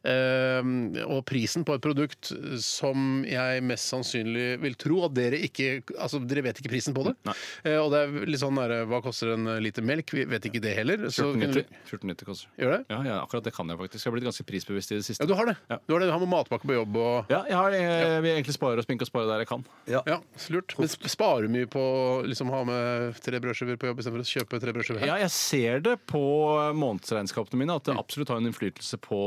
B: eh, og prisen på et produkt som jeg mest sannsynlig vil tro at dere ikke Altså, dere vet ikke prisen på det. Eh, og det er litt sånn der, Hva koster en liter melk? Vi vet ikke det heller. Så kunne du,
D: 1490. 1490 koster.
B: gjør det?
D: Ja, ja, akkurat det kan jeg faktisk. Jeg har blitt ganske prisbevisst i det
B: Ja,
D: siste.
B: du har det.
D: Ja.
B: Du har det, du har med matpakke på jobb og
D: Ja, jeg har, jeg vil egentlig spare og spinke og spare der jeg kan.
B: Ja, lurt. Men sp- sparer du mye på å liksom, ha med tre brødskiver på jobb istedenfor å kjøpe tre brødskiver her?
D: Ja, jeg ser det på månedsregnskapene mine at det absolutt har en innflytelse på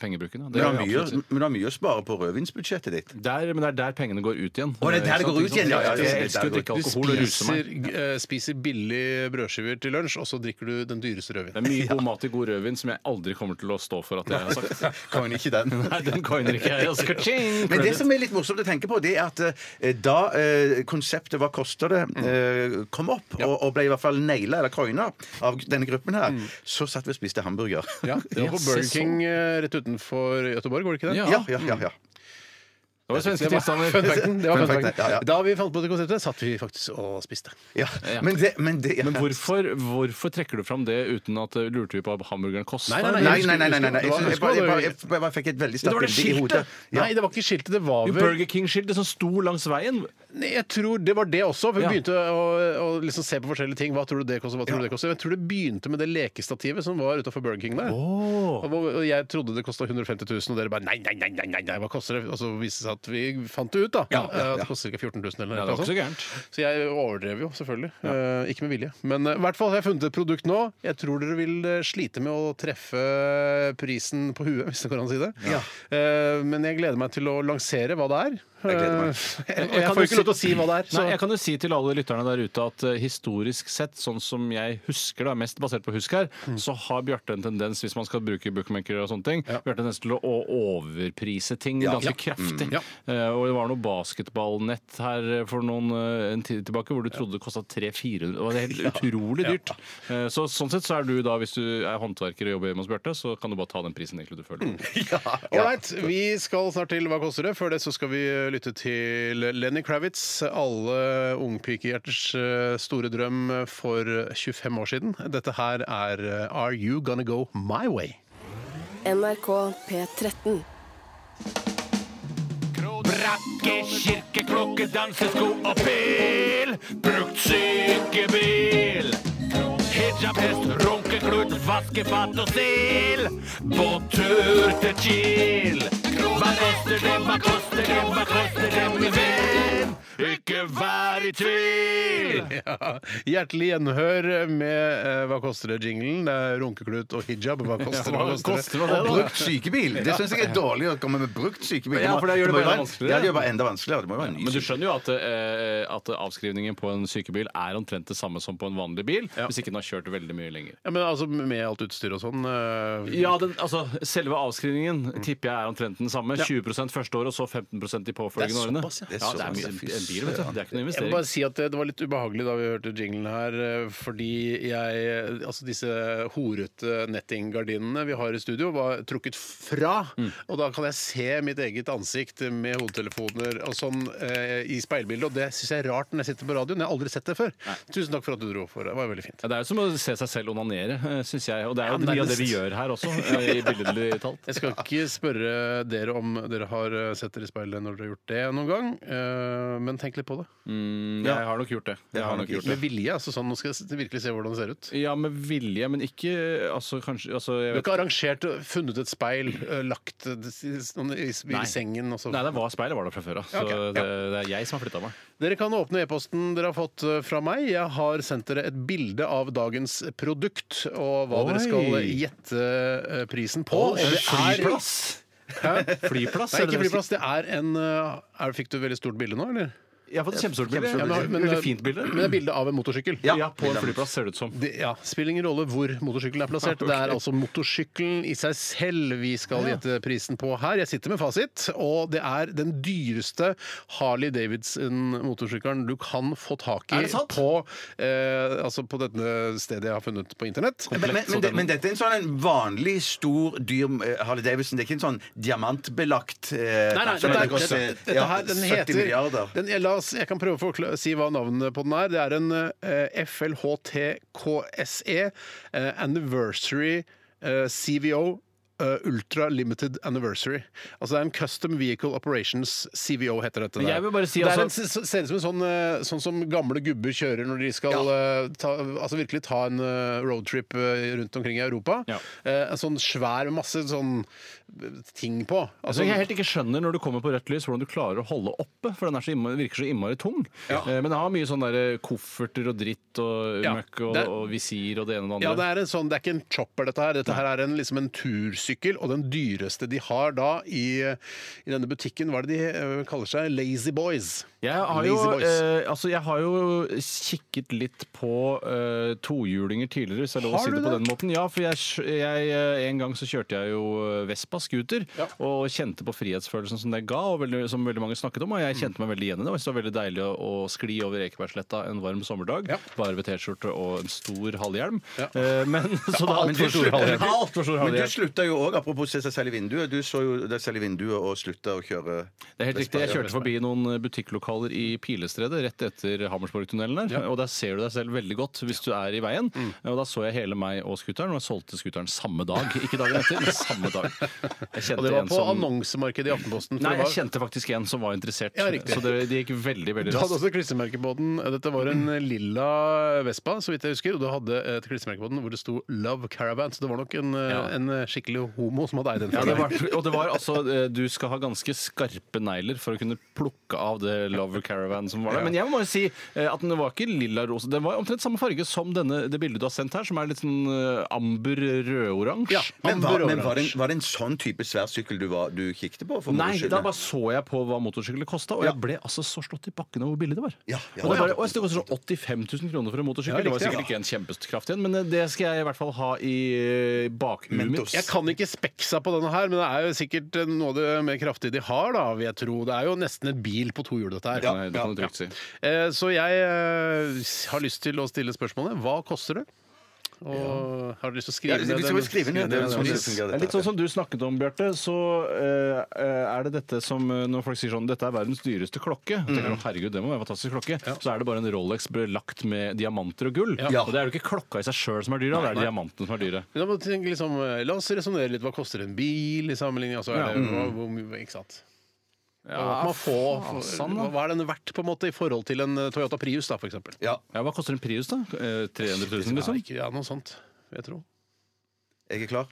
D: pengebruken. ja.
C: Men
D: Det
C: du
D: gjør
C: har
D: jeg
C: mye,
D: absolutt.
C: men du har mye å spare på rødvinsbudsjettet ditt.
D: Der, men det er der pengene går ut igjen.
C: Å, det er der det går ut igjen, ja, ja, ja, det
D: Jeg
C: er
D: elsker
C: der
D: jo å
C: det
D: drikke
C: går
B: Du
D: alkohol og ruse meg.
B: spiser, eh, spiser billig brødskiver til lunsj, og så drikker du den dyreste
D: Det
B: rødvinen.
D: er mye god mat i god rødvin som jeg aldri kommer til å stå for at jeg har sagt.
C: Coin ikke den.
D: Nei, den coiner ikke jeg. Altså, ka-ching!
C: Men det som er litt morsomt å tenke på, det er at eh, da eh, konseptet 'Hva koster det?' eh, kom opp, og, og ble i hvert fall naila eller coina av denne gruppen her, så satt vi og spiste hamburger.
B: Ja, det var på
D: se
B: Burger
D: sånn.
B: King eh, rett utenfor Göteborg, går det ikke det?
D: Ja.
C: Ja, ja, ja. ja.
D: Det var svenske
B: Det var fun
D: tilstander.
B: facten. Det var
C: Fun
B: fun
C: facten,
B: facten.
C: ja, ja.
B: Da vi fant på det konseptet, satt vi faktisk og spiste.
C: ja. Men det, men det ja.
D: Men hvorfor, hvorfor trekker du fram det uten at eh, lurte vi på hva hamburgeren kosta?
B: Nei, nei,
C: Nei, nei, nei. nei, nei, nei.
B: Det
C: Jeg,
B: var-
C: synes- jeg, bare, jeg, bare, jeg, bare- jeg bare fikk et veldig
B: Det
C: sterkt
B: var det
C: bilde i hodet.
B: skiltet!
C: Ja.
B: Nei, det var ikke skiltet. Det var
D: Jo,
B: vel
D: Burger King-skiltet som sto langs veien.
B: Nei, Jeg tror Det var det også. for Vi
D: Ja.
B: begynte å, å liksom se på forskjellige ting. Hva tror du det koster? Hva tror du det koster? Jeg tror det begynte med det lekestativet som var utafor Burger King der. Og hvor- og jeg trodde det kosta 150 000, og dere bare nei, nei, nei, nei, nei, nei, hva koster det? Og så viste det seg at vi fant det ut, da. At det koster ca. 14 000 eller
D: Ja,
B: noe
D: det var ikke så
B: sånt.
D: gærent.
B: Så jeg overdrev jo, selvfølgelig. Eh, ikke med vilje. Men eh, i hvert fall har jeg funnet et produkt nå. Jeg tror dere vil eh, slite med å treffe prisen på huet, hvis det går an å si det. Eh, men jeg gleder meg til å lansere hva det er.
C: Jeg gleder meg.
B: Eh, og jeg, får ikke lov til å si hva det er.
D: Nei, jeg kan jo si til alle lytterne der ute at eh, historisk sett, sånn som jeg husker, da, mest basert på husk her,
B: Mm.
D: så har Bjarte en tendens, hvis man skal bruke bookmakere og sånne ting, Bjarte en tendens til å å overprise ting ganske kraftig.
B: Ja.
D: Eh, og det var noe basketballnett her eh, for noen, eh, en tid tilbake hvor du trodde det kosta 300-400. Det var helt utrolig dyrt. Eh, så sånn sett så er du da, hvis du er håndverker og jobber hjemme hos Bjarte, så kan du bare ta den prisen egentlig du føler.
B: Ålreit, vi skal snart til Hva koster det? Før det så skal vi lytte til Lenny Kravitz. Alle ungpikehjerters eh, store drøm for 25 år siden. Dette her er eh, Are You Gonna Go My Way?
H: NRK P13.
B: Bra!
D: Jakke, kirke, klokke, dansesko og pil. Brukt sykebil. Hijab, hest, runkeklut, vaskefat og stil. På tur til Kiel. Hva koster det, hva koster det, hva koster det, min venn? Ikke vær i tvil!
B: Ja. Hjertelig gjenhør med eh, Hva koster det-jinglen. Det er runkeklut og hijab. Hva koster det?
D: hva
B: Hva koster det?
D: koster det, da?
B: Og
C: Brukt sykebil! Det syns jeg er dårlig å komme med brukt sykebil.
D: Ja,
C: må-
D: for det gjør det
C: må
D: bare
C: jo være-
D: vanskeligere.
C: Ja, det gjør bare enda vanskeligere. Det må jo være en ny
D: Men du
C: sykebil.
D: skjønner jo at, eh, at avskrivningen på en sykebil er omtrent det samme som på en vanlig bil, hvis ikke den har kjørt veldig mye lenger.
B: Ja, men altså Med alt utstyr og sånn. eh,
D: Ja, den, altså, Selve avskrivningen tipper jeg er omtrent den samme. 20 første året og så 15 de påfølgende årene.
B: såpass, ja.
D: Det er, det er
C: såpass,
D: mye,
C: ja.
D: en bil, vet du. Det er ikke noe
B: Jeg må bare
D: investering.
B: si at det, det var litt ubehagelig da vi hørte jinglen her, eh, fordi jeg Altså disse horete nettinggardinene vi har i studio, var trukket fra.
D: Mm.
B: Og da kan jeg se mitt eget ansikt med hodetelefoner og sånn eh, i speilbildet, og det syns jeg er rart når jeg sitter på radioen. Jeg har aldri sett det før. Tusen takk for at du dro for det. Det var veldig fint.
D: Ja, det er jo som å se seg selv onanere, syns jeg. Og det er jo
B: Ja,
D: mye av
B: nærmest.
D: det vi gjør her også, eh, i billedlig talt.
B: Jeg skal ikke spørre dere om dere har eh, sett dere i speilet når dere har gjort det noen gang, eh, men tenk litt på det.
D: Mm, Jeg har nok gjort det. Jeg har
C: har
D: nok
C: nok
D: gjort det.
B: Med vilje, altså sånn. Nå skal jeg s- virkelig se hvordan det ser ut.
D: Ja, med vilje, men ikke altså, kanskje altså, jeg
B: Du har
D: vet.
B: ikke arrangert, funnet et speil, ø, lagt det i, sånn i, i
D: Nei.
B: sengen og så
D: Nei, det var speilet var der fra før av. Så
B: Ok, ja.
D: det, det er jeg som har flytta meg.
B: Dere kan åpne e-posten dere har fått ø, fra meg. Jeg har sendt dere et bilde av dagens produkt og hva
D: Oi.
B: dere skal gjette ø, prisen på. Og det er- Hæ?
D: Flyplass?
B: Nei,
D: er det
B: ikke
D: det du
B: flyplass. Det er en ø, er, Fikk du et veldig stort bilde nå, eller?
D: sier? Jeg har fått et kjempestort bilde.
C: Kjempestort
D: Ja,
B: men- men,
D: men-
B: ø,
D: Veldig fint bilde.
B: Men det er bilde av en motorsykkel.
D: Ja, på en flyplass ser det ut som.
B: Det, ja, Spiller ingen rolle hvor motorsykkelen er plassert.
D: Ah,
B: Det er altså motorsykkelen i seg selv vi skal gjette prisen på her. Jeg sitter med fasit, og det er den dyreste Harley Davidson-motorsykkelen du kan få tak i
D: Er det sant?
B: på, eh, altså på dette stedet jeg har funnet på internett.
C: Men, men, men, det, men dette er en sånn en vanlig, stor, dyr eh, Harley Davidson. Det er ikke en sånn diamantbelagt eh,
B: Nei, nei,
C: som
B: dette,
C: det
B: er,
C: koster,
B: dette, dette
C: ja,
B: her, den
C: 70 milliarder.
B: heter den, jeg, la oss, jeg kan prøve å forkla- si hva navnet på den er. Det er en eh, FLHTKSE eh, Anniversary eh, CVO eh, Ultra Limited Anniversary. Altså det er en Custom Vehicle Operations CVO heter dette.
D: Men
B: der.
D: jeg vil bare si
B: det er
D: altså-
B: en, s- ser ut som en sånn, eh, sånn som gamle gubber kjører når de skal eh, ta, altså virkelig ta en eh, roadtrip eh, rundt omkring i Europa.
D: Ja.
B: Eh, en sånn svær med masse sånn eh, ting på.
D: Altså, jeg helt ikke skjønner når du kommer på rødt lys, hvordan du klarer å holde oppe, for den er så innmari, virker så innmari tung. Eh, Men den har mye sånn der kofferter og dritt og
B: Ja,
D: møkk og,
B: det-
D: og visir og det ene og det
B: Ja, det
D: andre.
B: er, en sånn, det er ikke en chopper, dette her. Dette her er en, liksom en tursykkel, og den dyreste de har da i, i denne butikken, hva er det de eh, kaller seg? Lazy Boys.
D: jeg har, jo,
B: Lazy Boys.
D: eh, altså jeg har jo kikket litt på eh, tohjulinger tidligere, hvis jeg har lov å
B: Har
D: si
B: du
D: det på
B: det?
D: den måten. Ja, for jeg, skj- jeg, eh, En gang så kjørte jeg jo eh, Vespa scooter og kjente på frihetsfølelsen som det ga, og veldig, som veldig mange snakket om. Og jeg
B: Mm.
D: kjente meg veldig igjen i det. og jeg syntes Det var veldig deilig å, å skli over Ekebergsletta en varm sommerdag,
B: Ja.
D: bare ved T-skjorte og en stor halvhjelm.
B: Ja.
D: Eh, men så da
C: Men du slutta-
D: Altfor
C: Men
D: stor
C: du
D: halvhjelm.
C: slutta jo òg, apropos se seg selv i vinduet. Du så jo deg selv i vinduet og slutta å kjøre
D: Det er helt riktig. Jeg kjørte forbi noen butikklokaler i Pilestredet rett etter Hammersborgtunnelen der. Og der ser du deg selv veldig godt hvis du er i veien.
B: Mm.
D: Og da så jeg hele meg og scooteren, og jeg solgte scooteren samme dag. Ikke dagen etter, men samme dag. Jeg
B: Og
D: kjente
B: det var
D: en
B: på
D: som
B: annonsemarkedet i Aftenposten. for
D: Nei,
B: det
D: jeg
B: var-
D: kjente faktisk en som var interessert.
B: Ja, riktig.
D: så det, det gikk veldig, veldig
B: Du hadde
D: raskt.
B: også klistremerke på den. Dette var en lilla Vespa, så vidt jeg husker. Og du hadde et klistremerke på den hvor det sto 'Love Caravan'. Så det var nok en, eh,
D: Ja.
B: en skikkelig homo som hadde eid den.
D: Ja, det var, og det var altså eh, Du skal ha ganske skarpe negler for å kunne plukke av det Lover Caravan som var der. Men jeg må bare si eh, at den var ikke lilla rosa. Den var omtrent samme farge som denne, det bildet du har sendt her, som er litt sånn eh, amber rødoransje.
B: Ja,
C: Men, hva,
B: amber og
C: men var, det en,
B: oransje.
C: var det en sånn type svær sykkel du, var, du kikket på? For
D: Nei,
C: moro skyld?
D: da bare så jeg på hva motorsykler kosta, og
C: Ja.
D: jeg ble altså så slått i bakken over hvor billig det var.
C: Ja, ja.
D: og det, bare, og det koster sånn 85 000 kroner for en motorsykkel.
B: Ja,
D: det var
B: riktig,
D: sikkert ikke en kjempekraft igjen, men eh, det skal jeg i hvert fall ha i eh, bakhuet mitt.
B: Jeg kan ikke speksa på denne her, men det er jo sikkert eh, noe av det mer kraftige de har, da, vil jeg tro. Det er jo nesten en bil på to hjul, dette her.
D: Ja, det kan du trygt si.
B: Eh, Så jeg eh, har lyst til å stille spørsmålet hva koster det? Og har du lyst til å
C: Ja,
B: skrive
C: vi skal
B: ned den-
C: vel skrive ned det.
B: skrive
C: sånn det
B: den-
C: fungerer,
D: Det er
C: dette
D: litt sånn som du snakket om, Bjarte. Så eh, eh, er det dette som eh, Når folk sier sånn dette er verdens dyreste klokke, tenker
B: Mm.
D: du, herregud, det må være en fantastisk klokke, så er det bare en Rolex belagt med diamanter og gull.
C: Ja.
D: Og det er jo ikke klokka i seg sjøl som er dyra, det er
B: nei.
D: diamantene som er dyre.
B: Men da må du tenke
D: Mm.
B: liksom, eh, La oss resonnere litt. Hva koster en bil i sammenligning? Altså, er det, hva, hvor, mye- ikke sant? Hva, kan man få,
D: fasan, sånn, da.
B: hva er den verdt på en måte i forhold til en eh, Toyota Prius, da, for eksempel?
C: Ja,
D: Ja, Hva koster en Prius, da? Eh,
B: Ja,
D: 300 000, liksom?
B: ikke, ja, noe sånt, vil jeg tro.
C: jeg er klar.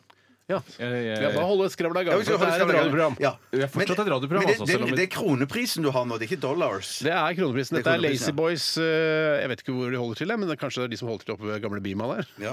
B: Ja.
D: Jeg- jeg-
B: Ja, bare holde skravla i gang.
C: Ja, vi skal
B: for
C: holde
B: Det er et
C: skravla i gang.
B: radioprogram.
C: Ja.
D: Vi er fortsatt
C: Men-
D: et radioprogram,
C: men det-
D: altså,
C: Det,
D: selv om vi-
C: det er kroneprisen du har nå, det er ikke dollars.
B: Det er kroneprisen.
C: Det er
B: Dette er
C: kroneprisen, ja.
B: Lazy Boys. eh, Jeg vet ikke hvor de holder til, jeg, men det er kanskje det er de som holder til oppe ved gamle Bima der.
C: Ja.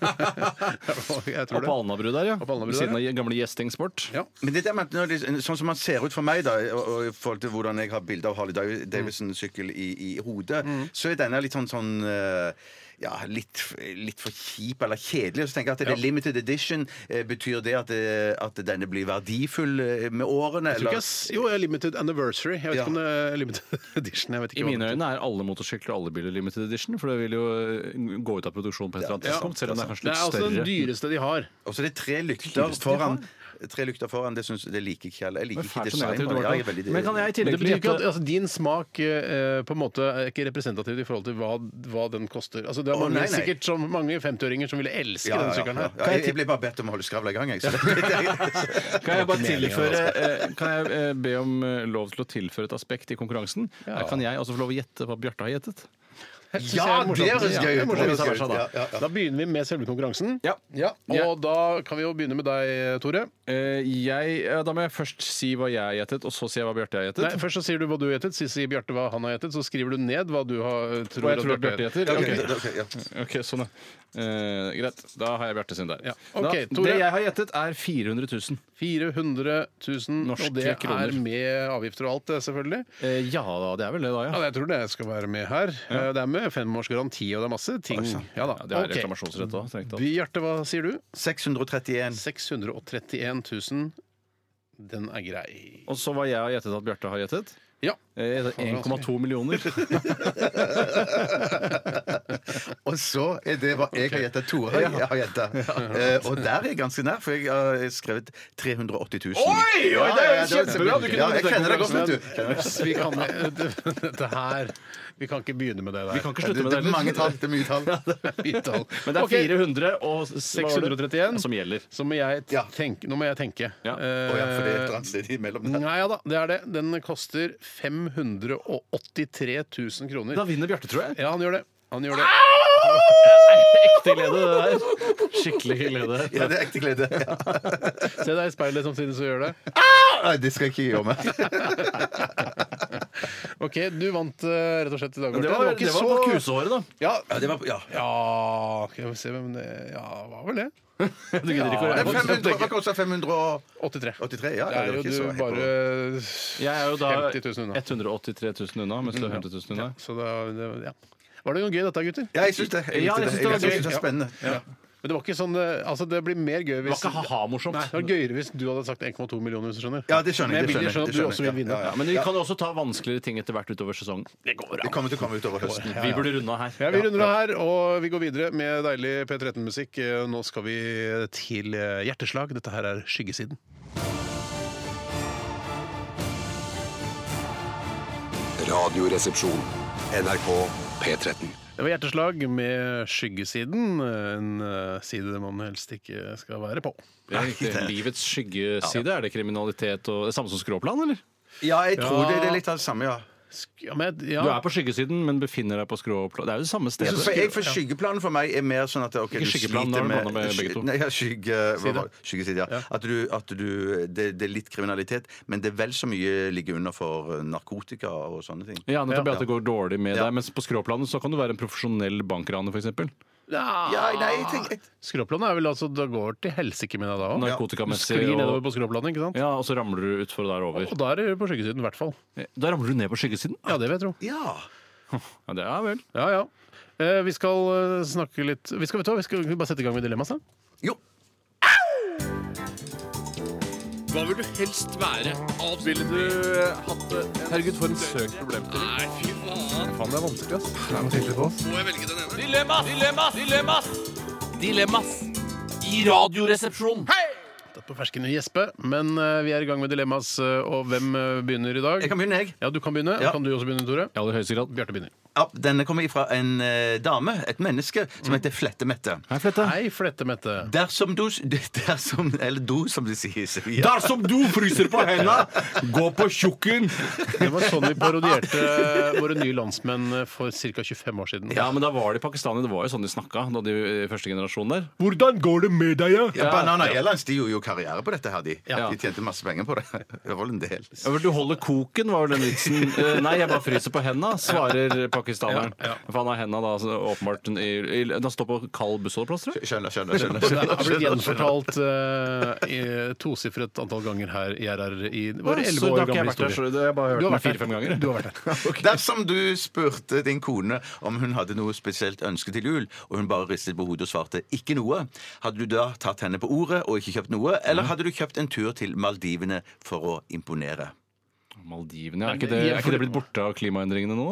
B: jeg tror
D: Oppe
B: det.
D: på Alnabru der, ja.
B: Oppe på Alnabru
D: Ved
B: der,
D: siden av gamle Gjesting Sport.
B: Ja.
C: Men det der med at når det, sånn som han ser ut for meg, da, og, og i forhold til hvordan jeg har bilde av Harley Dav- Davidson-sykkel i, i hodet, så er denne litt sånn sånn eh, ja, litt, litt for kjip eller kjedelig. Og så tenker jeg at det er limited edition. eh, Betyr det at, det at denne blir verdifull eh, med årene?
B: Jeg tror
C: Eller?
B: ikke jeg s- Jo, Limited Anniversary. Jeg vet
C: Ja.
B: ikke om det er Limited Edition. Jeg vet ikke
D: I
B: hva
D: mine
B: det
D: øyne er alle motorsykler og alle biler limited edition, for det vil jo eh, gå ut av produksjon på et eller annet
B: Ja.
D: tidspunkt, selv om det er
B: heter.
D: kanskje
B: Det er
D: litt
B: altså den
D: større.
B: dyreste de har.
C: Og så er det tre lykter foran. Tre lykter foran, Det syns det liker ikke jeg. Jeg liker
D: Men
C: ikke
D: fælt så
C: design. på
D: negativt det
C: det.
D: var,
C: Ja, jeg er
D: da.
C: veldig-
D: Men kan jeg i
B: Men
D: tillegg
B: det betyr
D: til
B: ikke at
D: dette
B: altså, din smak eh, på en måte er ikke representativ i forhold til hva, hva den koster. Altså, det er
C: Å,
B: mange,
C: nei, nei.
B: sikkert som mange 50-åringer som ville elske
C: ja, ja,
B: denne
C: ja,
B: sykkelen
C: ja.
B: her.
C: Ja, jeg, jeg ble bare bedt om å holde skravla i gang, jeg. Så det,
D: Kan jeg bare tilføre
B: altså.
D: eh, Kan jeg eh, be om eh, lov til å tilføre et aspekt i konkurransen? Eh, Kan jeg også få lov å gjette hva Bjarte har gjettet?
B: Synes
C: Ja,
B: jeg er morsomt.
C: det høres
B: Ja,
C: gøy ut.
B: er morsomt.
C: Det høres
B: Vi tar
C: gøy ut.
B: seg da.
C: Ja, ja, ja.
B: Da begynner vi med selve konkurransen.
D: Ja.
B: Og da kan vi jo begynne med deg, Tore.
D: Eh, jeg, ja, da må jeg først si hva jeg har gjettet, og så sier jeg hva Bjarte har gjettet.
B: Nei, først så sier du hva du har gjettet, så sier Bjarte hva han har gjettet, så skriver du ned hva du har, tror,
D: Hva jeg
B: at
D: tror at Bjarte
B: Bjarte
C: Ok,
D: gjetter? Ok.
C: da- ok, ja.
D: Ok, sånn ja. Eh, greit. Da har jeg Bjarte sin der.
B: Ja. Ok,
D: da,
B: Tore.
D: det jeg har gjettet, er 400 000.
B: 400 000,
D: Norske
B: og det er
D: kroner.
B: med avgifter og alt, det, selvfølgelig.
D: Eh, ja da, det er vel det, da,
B: Ja,
D: ja.
B: jeg tror det skal være med her. Eh, Det er med fem års garanti, og det er masse ting. Ja da.
D: ja det er
B: Ok.
D: reklamasjonsrett òg, strengt tatt.
B: Bjarte, hva sier du?
C: 631.
B: 631 000. Den er grei.
D: Og så hva jeg har gjettet at Bjarte har gjettet?
B: Ja.
D: Eh, jeg
B: altså.
D: gjettet 1,2 millioner.
C: Og så er det hva jeg har gjetta. Tore har- har gjetta. Eh, Og der er jeg ganske nær, for jeg har skrevet 380 000.
D: Oi, oi, det er jo kjempebra. Du
C: ja, jeg
D: kunne vunnet den
C: kjenner deg godt, vet du.
B: Vi kan, eh, dette her Vi kan ikke begynne med det der.
D: Vi kan ikke
C: Det,
D: slutte med
C: det er
D: det.
C: mange
D: heller.
C: tall. Det er mye tall.
B: Vitall.
D: Men det er
B: Ok,
D: 400 og 631 som gjelder.
B: Så må jeg
C: Ja.
B: tenke, nå må jeg tenke. Eh,
D: Ja.
C: Å ja, for det er et eller annet sted imellom der.
B: Nei ja da, det er det. Den koster 583 000 kroner.
D: Da vinner Bjarte, tror jeg.
B: Ja, han gjør det. Han gjør det.
D: Ah! Ekte glede, det der. Skikkelig glede.
C: Ja, det er ekte glede. Ja.
B: Se deg i speilet samtidig som gjør det.
C: Nei, Det skal jeg ikke gjøre meg.
B: Ok, du vant eh, rett og slett i dag, Bjarte.
D: Det var, det var på kusehåret, da.
B: Ja,
C: Ja, det var, ja.
B: ja skal vi se hvem det Ja, hva var vel det?
D: Du gidder ikke å
C: Det
D: regne
C: er
D: på det.
C: 500, hva koster 583?
B: 83.
C: Ja, ja, det
B: Det er
C: var
B: jo
C: ikke så
B: du
C: helt på-
B: bare
D: Jeg er jo da
B: 50 000 unna.
D: 183 000 unna, mens du er 50 000 unna.
B: Så da, det, ja. Var det noe gøy dette, gutter?
C: Ja, jeg syns det. Jeg
D: Ja,
C: likte
D: jeg
C: det.
D: synes det var
C: Jeg synes
D: gøy.
C: det var spennende. Ja.
B: Men det var ikke sånn eh, Altså, det blir mer gøy
D: Det
B: hvis
D: var ikke
B: Nei,
D: ha-ha-morsomt.
B: det var gøyere hvis du hadde sagt 1,2 millioner, hvis du skjønner.
C: Ja, det skjønner jeg,
B: Men
C: det
B: jeg vil
C: skjønner jeg, det
B: skjønne at du
C: skjønner
B: også vil
C: jeg.
B: vinne.
C: Ja, ja.
D: Men vi kan jo også ta vanskeligere ting etter hvert utover sesongen.
C: Det kommer til å komme utover høsten.
D: Vi burde runde av her.
B: Ja, Vi runder av her, og vi går videre med deilig P13-musikk. Eh, Nå skal vi til eh, hjerteslag. Dette her er Skyggesiden.
G: Radioresepsjon. NRK P13.
B: Det var Hjerteslag med Skyggesiden, en eh, side man helst ikke skal være på.
D: Det er riktig. Livets skyggeside. Er det kriminalitet og Det er samme som skråplan, eller?
C: Ja, jeg tror det, det er litt av det samme, ja.
B: Sk- Ja, men, jeg- ja.
D: Du er på skyggesiden, men befinner deg på skråplan. Det er jo det samme
C: Jeg
D: stedet.
C: synes for, jeg, for skyggeplanen for meg er mer sånn at ok,
D: Ikke
C: du
D: skyggeplan,
C: sliter
D: da
C: med
D: har du blanda med begge to.
C: Nei, ja, skygge, hva,
B: Side.
C: var det? skyggeside, ja. At du, at du det, det er litt kriminalitet, men det er vel så mye ligger under for eh, narkotika og sånne ting.
D: Ja, nettopp
B: Ja.
D: at det går dårlig med
C: Ja.
D: deg. Mens på skråplanet så kan du være en profesjonell bankraner, f.eks.
C: Ja, nei, jeg tenker jeg-
B: Skråplanet er vel altså Det går til helsike med deg da òg. Du
D: Narkotikamessig.
B: sklir nedover
D: Og,
B: på skråplanet, ikke sant?
D: ja, og så ramler du utfor der over.
B: Og da er det på skyggesiden, i hvert fall.
D: Da ramler du ned på skyggesiden?
B: Ja, det vil jeg tro.
C: Ja.
D: Ja, det er vel.
B: Ja, ja. Eh, vi skal eh, snakke litt Vi skal, vet du, hva, vi skal bare sette i gang med dilemmaet, da.
C: Jo.
H: Hva vil du helst være? Ville du hatt det? Herregud, for en søk problemstilling. Nei, fy faen. Faen, det er vanskelig, ass. Det er noe tydelig på oss. Må jeg velge den ene? Dilemmas! Dilemmas! Dilemmas! Dilemmas! I radioresepsjonen.
B: Det er på fersken å gjespe, men eh, vi er i gang med dilemmas, eh, og hvem eh, begynner i dag?
C: Jeg kan begynne, jeg.
B: Ja, du kan begynne.
C: Ja.
B: Kan du også begynne, Tore?
D: I aller høyeste grad.
B: Bjarte begynner.
C: Up. Denne kommer fra en eh, dame, et menneske, som heter Flette-Mette.
D: Hei, Flette.
B: Hei, flette-Mette.
C: Dersom du dersom, Eller do, som de sier. i Sevilla.
H: Dersom du fryser på henda, gå på tjukken!
B: Det var sånn vi parodierte eh, våre nye landsmenn eh, for ca. 25 år siden.
D: Ja, men da var de pakistanere. Det var jo sånn de snakka da de eh, første generasjonen der.
H: Hvordan går det med deg, ja?
C: Ja, Banana Airlines de gjorde jo karriere på dette. her De,
D: Ja.
C: de tjente masse penger på det. Det var vel en del.
D: Ja, vel, Du holder koken, var vel den vitsen. Eh, Nei, jeg bare fryser på henda, svarer pakistaneren.
B: Ja, ja.
D: For han har henda da så åpenbart i, i, Den står på kald bussholdeplass, tror jeg.
C: Skjønner, skjønner. skjønner,
B: Det
C: skjønner,
B: har blitt
C: skjønner,
B: gjenfortalt uh, i tosifret antall ganger her i RR i vår
D: Ja,
B: 11
D: så da
B: år
D: har ikke jeg
B: gamle
D: vært der,
B: historie.
D: så det- jeg har bare hørt
B: Du har
D: den
B: vært der.
D: fire-fem ganger.
B: Du har vært der.
C: Dersom du spurte din kone om hun hadde noe spesielt ønske til jul, og hun bare ristet på hodet og svarte 'ikke noe', hadde du da tatt henne på ordet og ikke kjøpt noe, eller hadde du kjøpt en tur til Maldivene for å imponere?
D: Maldivene, ja. er, ikke
B: Men
D: det,
B: jeg-
D: er ikke det blitt borte av klimaendringene nå?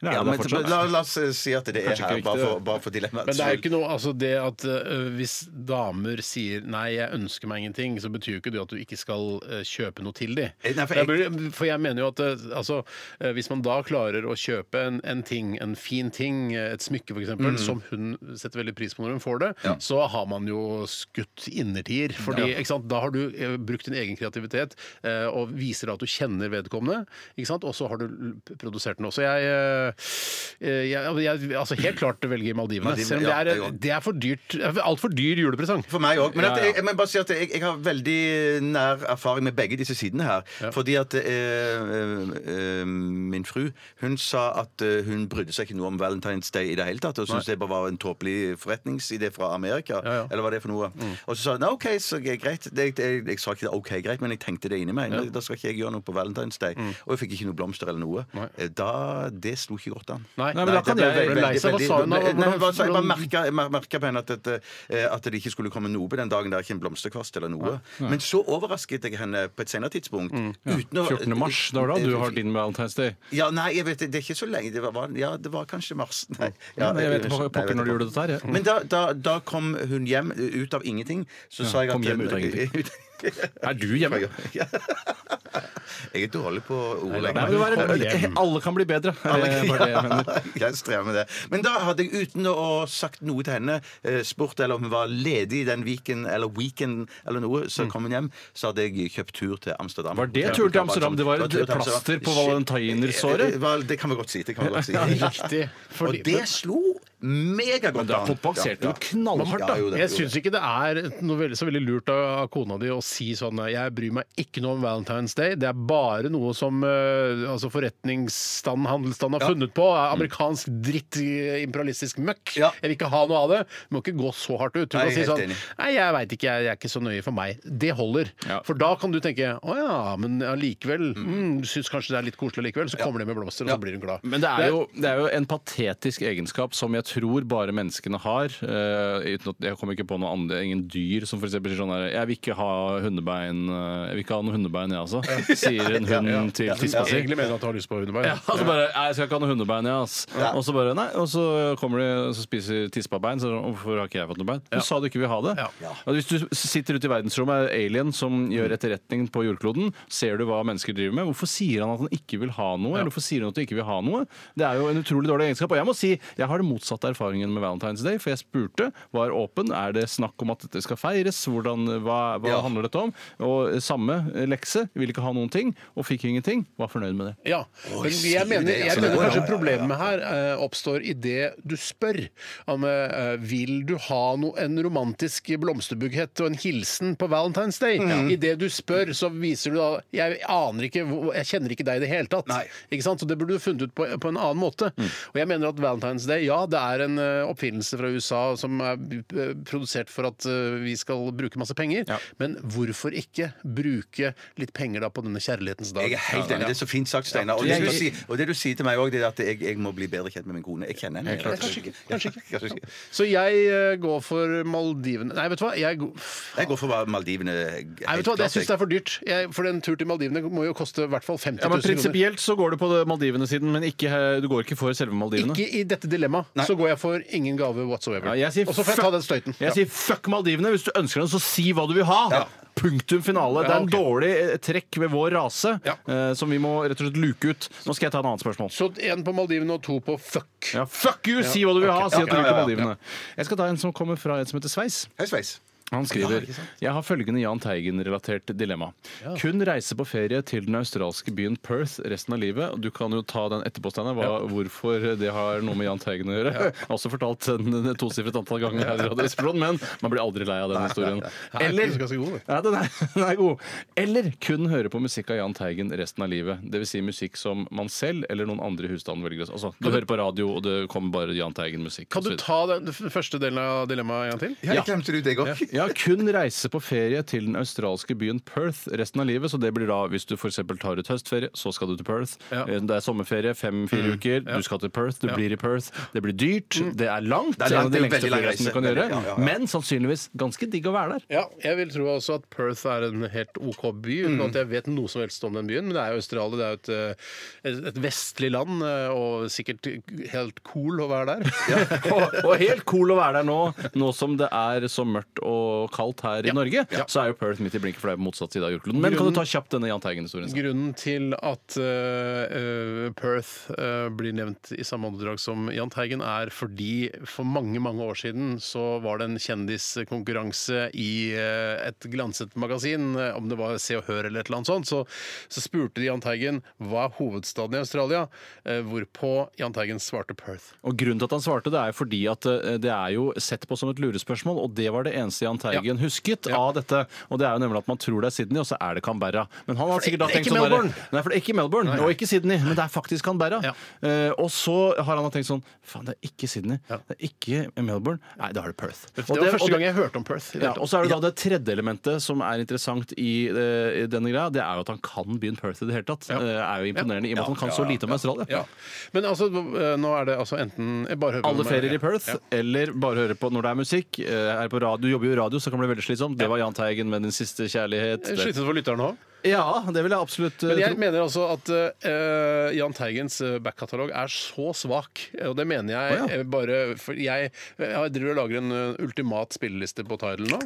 D: Eller er
C: Ja,
D: det
C: men
D: der fortsatt?
C: la, la oss eh, si at det er
D: Kanskje ikke
C: her, bare
D: riktig,
C: for,
D: det.
C: bare for dilemmaets
B: Men det er jo
C: skyld.
B: ikke noe, altså det at øh, hvis damer sier 'nei, jeg ønsker meg ingenting', så betyr jo ikke det at du ikke skal øh, kjøpe noe til dem.
C: Eh, nei, for
B: for, jeg... for jeg mener jo at øh, altså, øh, hvis man da klarer å kjøpe en, en ting, en fin ting, øh, et smykke f.eks.,
C: Mm.
B: eksempel som hun setter veldig pris på når hun får det, så har man jo skutt innertier. Fordi ikke sant, da har du øh, brukt din egen kreativitet øh, og viser at du kjenner vedkommende, ikke sant? og så har du l- produsert den også. Jeg, øh, øh, jeg, jeg altså helt klart velger Maldivene.
C: Maldivene,
B: Selv om
C: ja,
B: det
C: jeg
B: er,
C: også.
B: det er for dyrt. Altfor dyr julepresang.
C: For meg òg. Men at,
D: Ja, ja.
C: jeg, jeg, må bare si at jeg, jeg har veldig nær erfaring med begge disse sidene her. Fordi at eh, eh, eh, min fru hun sa at eh, hun brydde seg ikke noe om Valentine's Day i det hele tatt. Og syntes det bare var en tåpelig forretningsidé fra Amerika.
B: Ja, Mm. ja.
C: Eller hva det er for noe. Og så sa hun OK, så g- greit. Det, det, jeg, jeg sa ikke det OK, greit, men jeg tenkte det inni meg. Da- Da skal ikke jeg gjøre noe på Valentine's Day.
B: Mm.
C: Og jeg fikk ikke noe blomster eller noe. Eh, Da, det slo ikke godt an.
B: Nei.
D: Nei, men da
C: Nei, det
D: kan
C: ble
D: jeg-
C: veldig,
B: ble lei seg. Hva
C: veldig-
B: sa hun da?
C: Nei,
B: Hvordan-
C: hva sa- Jeg bare
B: hvordan-
C: merka, jeg mer- merka på henne at, dette, eh, at det ikke skulle komme noe på den dagen. Det er ikke en blomsterkvast eller noe. Men så overrasket jeg henne på et senere tidspunkt. Uten å
D: 14. Mm, mars, det var da du har din Valentine's Day.
C: Ja, nei, jeg vet det. Det er ikke så lenge. Det var- var, ja, det var kanskje mars. Nei. Ja,
D: Ja, men jeg
C: unnskyld.
D: vet ikke
C: Nei, jeg
D: pokker når
C: ikke.
D: du gjorde dette her. jeg.
C: Men da, da, da kom hun hjem eh, ut av ingenting. Så sa jeg at
D: kom hjem ut av ingenting. Er du hjemme?
C: Jeg er dårlig på ord
D: Nei, men det var en, alle kan bli bedre. Er det bare Eh, det jeg mener?
C: jeg strever med det. Men da hadde jeg uten å ha sagt noe til henne, eh, spurt eller om hun var ledig den weekend eller weekenden eller noe, så kom hun hjem, så hadde jeg kjøpt tur til Amsterdam.
D: Mm. Var det tur til Amsterdam? Det var et
C: sånn- tur til Amsterdam.
D: plaster på
C: Shit.
D: valentinersåret?
C: Eh, vel, Det kan vi godt si. Det kan vi godt si.
B: Riktig.
C: Og
B: Fordi-
C: det slo megagodt
D: Da kompenserte
C: Ja, ja.
D: du knallhardt,
C: Ja, jo da,
D: da.
B: Jeg
C: jo da.
B: syns ikke det er noe veldig, så veldig lurt av av kona di å si sånn Jeg bryr meg ikke noe om Valentine's Day. Det er bare noe som eh, altså forretningsstand, handelsstand har funnet på. Er Amerikansk dritt, eh, imperialistisk møkk.
C: Mm. Ja.
B: Jeg vil ikke ha noe av det. Du må ikke gå så hardt ut. Du
C: Nei,
B: kan si
C: helt
B: sånn
C: enig.
B: Nei, jeg veit ikke, jeg, jeg er ikke så nøye for meg. Det holder.
D: Ja.
B: For da kan du tenke Å ja, men allikevel. Mm, syns kanskje det er litt koselig likevel. Så kommer det med blomster, og så blir hun glad.
D: Men det er, jo, det er jo en patetisk egenskap som jeg tror bare menneskene har. eh, uten at jeg kommer ikke på noe andre, ingen dyr som f.eks. sier sånn her Jeg vil ikke ha hundebein, eh, jeg vil ikke ha noe hundebein, jeg altså. Sier en hund til tispa si.
B: Egentlig mener du at du har lyst på hundebein.
D: Ja, altså bare, «Nei, Jeg skal ikke ha noe hundebein, jeg, ass. Og så bare, nei, og så kommer de og så spiser tispa bein. Så er det sånn, hvorfor har ikke jeg fått noe bein? Du sa du ikke ville ha det.
B: Ja.
D: Og Hvis du sitter ute i verdensrommet, er alien som gjør etterretning på jordkloden, ser du hva mennesker driver med, hvorfor sier han at han ikke vil ha noe? Eller hvorfor sier han at du ikke vil ha noe? Det er jo en utrolig dårlig egenskap. Og jeg må si, jeg har den motsatte erfaringen med Valentine's Day, for jeg spurte, var åpen, er det snakk om at dette skal feires, hvordan, hva, hva
C: Ja.
D: handler dette om? Og eh, samme eh, lekse, vil ikke ha noen ting, og fikk ingenting, var fornøyd med det.
B: Ja, men
C: sier
B: jeg mener,
C: det,
B: jeg
C: altså. Ja,
B: mener
C: ja,
B: kanskje
C: ja, ja.
B: problemet her eh, oppstår i det du spør. Om, eh, vil du ha no, en romantisk blomsterbukett og en hilsen på Valentine's Day?
C: Mm.
B: I det du spør, så viser du da Jeg aner ikke, hvor- jeg kjenner ikke deg i det hele tatt.
C: Nei. Mm.
B: Ikke sant? Så det burde du funnet ut på, på en annen måte. Og jeg mener at Valentine's Day, ja, det er en eh, oppfinnelse fra USA som er eh, produsert for at eh, vi skal bruke masse penger,
D: Ja.
B: men hvorfor ikke bruke litt penger da på denne kjærlighetens dag?
C: Jeg er helt enig. Det er så fint sagt, Steinar. Og, det du sier- og det du sier til meg òg, er at jeg, jeg må bli bedre kjent med min kone. Jeg kjenner henne.
D: Helt klart.
C: Jeg
B: Kanskje ikke. Kanskje ikke.
C: Kanskje ikke.
B: Så jeg eh, går for Maldivene Nei, vet du hva? Jeg, go- Nei,
C: Jeg går for Maldivene. helt
B: vet du hva?
C: klart,
B: Jeg syns det er for dyrt. Jeg, for en tur til Maldivene må jo koste i hvert fall 50
D: Ja, men
B: 000 kroner.
D: Prinsipielt så går du på det Maldivene-siden, men ikke, eh, du går ikke for selve Maldivene.
B: Ikke i dette dilemmaet. Så går jeg for ingen gave whatsoever.
D: Ja, jeg sier
B: og så får jeg
D: fuck-
B: ta den støyten.
D: Jeg sier fuck Maldivene. Hvis du ønsker den, så si hva du vil ha. Punktum finale. Det er en
B: Ja, ok.
D: dårlig eh, trekk ved vår rase
B: Ja.
D: eh, som vi må rett og slett luke ut. Nå skal jeg ta et annet spørsmål.
B: Så én på Maldivene og to på fuck.
D: Ja, fuck you! Si hva du vil ha!
B: ok,
D: Si
B: ja,
D: at du
B: ja,
D: liker
B: ja, ja.
D: Maldivene. Jeg skal ta en som kommer fra en som heter Sveis.
C: Hei, sveis.
D: Han skriver Jeg har følgende Jahn Teigen-relatert dilemma. Kun reise på ferie til den australske byen Perth resten av livet. Du kan jo ta den etterpå, Steinar, hva- hvorfor det har noe med Jahn Teigen å gjøre. Jeg har også fortalt den den tosifret antall ganger her i Radio Resepsjonen, men man blir aldri lei av den historien. Eller,
B: ganske god, det.
D: ja, den er, den er god. Eller kun høre på musikk av Jahn Teigen resten av livet. Dvs. Si musikk som man selv eller noen andre i husstanden velger. Altså, du hører på radio, og det kommer bare Jahn Teigen-musikk.
B: Kan du
D: osv.
B: ta den f- første delen av dilemmaet en gang til?
C: Ja, jeg glemte du deg òg.
D: Ja, kun reise på ferie til den australske byen Perth resten av livet. Så det blir da, hvis du f.eks. tar ut høstferie, så skal du til Perth.
B: Ja.
D: Eh, Det er sommerferie, fem-fire
C: Mm.
D: uker, du skal til Perth, du blir i Perth. Det blir dyrt, det er langt.
C: Det er langt,
D: en av
C: det
D: de
C: er
D: lengste
C: veldig lang
D: flyreisene
C: reise.
D: du kan gjøre.
C: Veldig, ja, ja, ja.
D: Men sannsynligvis ganske digg å være der.
B: Ja, jeg vil tro også at Perth er en helt OK by, uten
D: Mm.
B: at jeg vet noe som helst om den byen. Men det er jo Australia, det er jo et, eh, et, et vestlig land, eh, og sikkert helt cool å være der.
D: og, og helt cool å være der nå, nå som det er så mørkt og kaldt her i Norge. Så er jo Perth midt i blinken, for det er på motsatt side av jordkloden. Men kan du ta kjapt denne Jahn Teigen-historien? Steinar?
B: Grunnen til at eh, eh, Perth eh, blir nevnt i samme åndedrag som Jahn Teigen, er fordi for mange mange år siden så var det en kjendiskonkurranse i eh, et glanset magasin, eh, om det var Se og Hør eller et eller annet sånt. Så, så spurte de Jahn Teigen hva er hovedstaden i Australia, Eh, hvorpå Jahn Teigen svarte Perth.
D: Og Grunnen til at han svarte, det er jo fordi at eh, det er jo sett på som et lurespørsmål, og det var det eneste Jahn Teigen husket av dette. Og det er jo nemlig at man tror det er Sydney, og så er det Canberra. Men han har sikkert da
B: det er
D: tenkt
B: ikke
D: sånn derre-
B: Melbourne.
D: Nei, for det er ikke Melbourne, og ikke Sydney, men det er faktisk Canberra.
B: Ja.
D: Eh, og så har han da tenkt sånn Faen, det er ikke Sydney, det er ikke Melbourne. Nei, da er det Perth.
B: Det
D: Og
B: var
D: og
B: første gang jeg hørte om Perth. i det hele
D: ja,
B: tatt.
D: og så er det da det tredje elementet som er interessant i, eh, i denne greia, det er jo at han kan byen Perth i det hele tatt.
B: Ja.
D: Det er jo imponerende i og med at han kan så lite om Australia.
B: Ja. Men altså, eh, nå er det altså enten eh, bare høre på
D: Alle
B: meg.
D: ferier i Perth,
B: Ja.
D: eller bare høre på når det er musikk. Eh, Er på radio, du jobber jo i radio, så kan det bli veldig slitsomt. Det var Jahn Teigen med 'Din siste kjærlighet'. Det-
B: Slitsomt for lytteren òg.
D: Ja, det vil jeg absolutt eh,
B: Men jeg
D: tro.
B: mener altså at uh, Jahn Teigens eh, backkatalog er så svak. Og det mener jeg
D: Å, ja.
B: eh, bare for jeg, jeg driver og lager en eh, ultimat spilleliste på Tidal nå.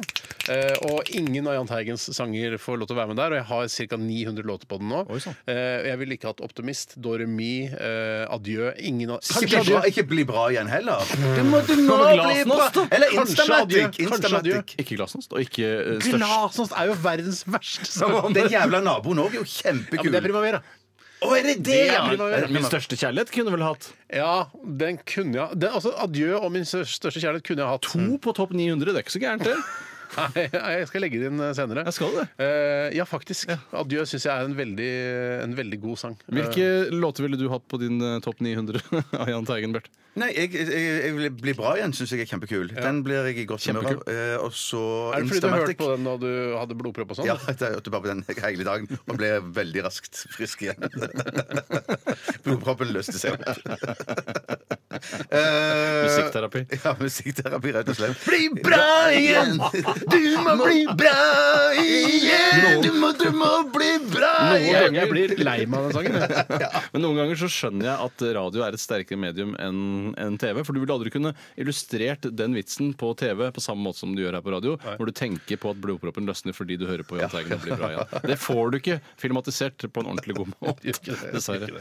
B: eh, og ingen av Jahn Teigens sanger får lov til å være med der. Og jeg har ca. 900 låter på den nå.
D: Oi, sånn. sann.
B: Eh, jeg ville ikke hatt Optimist, Doremi, uh, Adjø Ingen av
C: Ikke bli, bra, ikke bli bra igjen heller. Du må, du
D: Kan
C: må
D: du
C: bli
D: glasen
C: bra.
D: oss, da?
C: Eller
B: Kanskje adjø.
C: Instamatic.
B: Kanskje
C: Instamatic.
D: Ikke Glasnost, og ikke eh, størst.
B: Glasnost er jo verdens verste sang.
C: Den jævla naboen òg er jo
B: Ja, men
C: kjempekul.
B: det er Primavera.
C: Å, er det det?
B: Ja,
C: Ja,
B: men-
D: Eh, Min største kjærlighet kunne vel hatt
B: Ja, den kunne jeg den, Altså, Adjø og min stør- største kjærlighet kunne jeg hatt.
D: to på topp 900. Det er ikke så gærent, det.
B: Nei, jeg skal legge det inn senere.
D: Jeg skal det.
B: Eh, ja, faktisk. Adjø syns jeg er en veldig, en veldig god sang. Eh,
D: Hvilke låter ville du hatt på din eh, topp 900 av Jahn Teigen, Bert?
C: Nei, jeg, jeg, jeg vil bli bra igjen, syns jeg er kjempekul. Den blir jeg i godt humør av. Eh, Og så
B: er det fordi du hørte
C: Instamatic.
B: på den da du hadde blodpropp og sånn?
C: Ja, jeg hørte bare på den hele dagen og ble veldig raskt frisk igjen. Blodproppen løste seg opp. Eh,
D: Musikkterapi.
C: Ja, musikkterapi, rett og slett. Bli bra igjen! Du må bli bra igjen! Du må, du må bli bra
D: Noen
C: igjen!
D: ganger jeg blir lei meg av den sangen. jeg. Men noen ganger så skjønner jeg at radio er et sterkere medium enn enn TV. For du ville aldri kunne illustrert den vitsen på TV på samme måte som du gjør her på radio, hvor du tenker på at blodproppen løsner fordi du hører på Jahn Teigen og blir bra igjen. Det får du ikke filmatisert på en ordentlig god måte. Dessverre.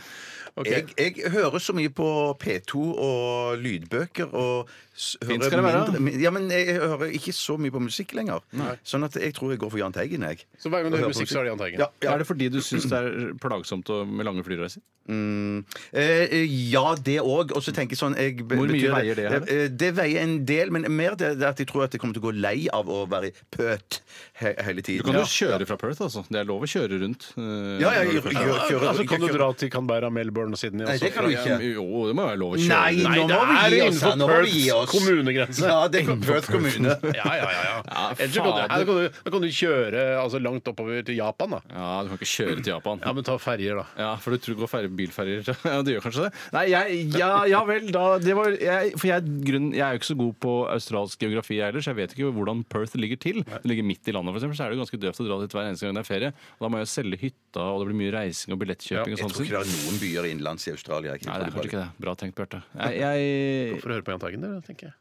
B: Ok.
C: Jeg, jeg hører så mye på P2 og lydbøker og s- hører
D: Fint skal det være.
C: mindre- min- Ja, men jeg hører ikke så mye på musikk lenger. Sånn at jeg tror jeg går for Jahn Teigen, jeg.
B: Så hver gang du
C: Og
B: hører
C: hører på
B: musikk, så er det Jahn Teigen?
C: Ja, ja.
D: Er det fordi du syns det er plagsomt å- med lange flyreiser?
C: Eh, ja, det òg. Og så tenker jeg sånn jeg,
D: Hvor mye
C: betyr
D: veier det her?
C: Eh, det veier en del, men mer det, det at jeg tror at jeg kommer til å gå lei av å være i pøt he hele tiden.
D: Du kan jo kjøre fra Perth, altså. Det er lov å kjøre rundt. eh,
C: Ja, ja,
D: når du
C: jeg, jeg,
D: først
C: jeg,
D: er-
C: jeg, kjører-
B: Altså, Kan du
C: jeg
B: dra til Canberra, Melbourne og Sydney?
C: Nei,
B: også?
C: det kan du ikke.
D: Jo, det må være lov å kjøre.
C: Nei, nå må vi gi oss.
B: det er
C: her,
B: innenfor
C: Nå må vi
B: Perths
C: gi oss.
B: kommunegrense.
C: Ja, det er Perth kommune.
B: Ja, ja, ja. ja.
D: Ja,
B: Ellers så kan du,
D: fader.
B: her kan du, da kan du kjøre altså, langt oppover til Japan, da.
D: Ja, du kan ikke kjøre til Japan.
B: Ja, men ta ferjer, da.
D: Ja, for du tror går ferdig bilferjer Ja, det gjør kanskje det? Nei, jeg, ja, ja vel, da det var, jeg, For jeg, grunn, jeg er jo ikke så god på australsk geografi jeg heller, så jeg vet ikke hvordan Perth ligger til. Det ligger midt i landet, for eksempel, så er det jo ganske døvt å dra dit hver eneste gang det er ferie. Og da må jeg jo selge hytta, og det blir mye reising og billettkjøping og
C: Jeg
D: sånn.
C: tror ikke
D: Nei,
C: det er noen byer innenlands i Australia. Jeg
D: det er kanskje ikke det. Bra tenkt, Bjarte. Nei, jeg, jeg,
B: For å høre på Jahn Teigen, dere, tenker jeg.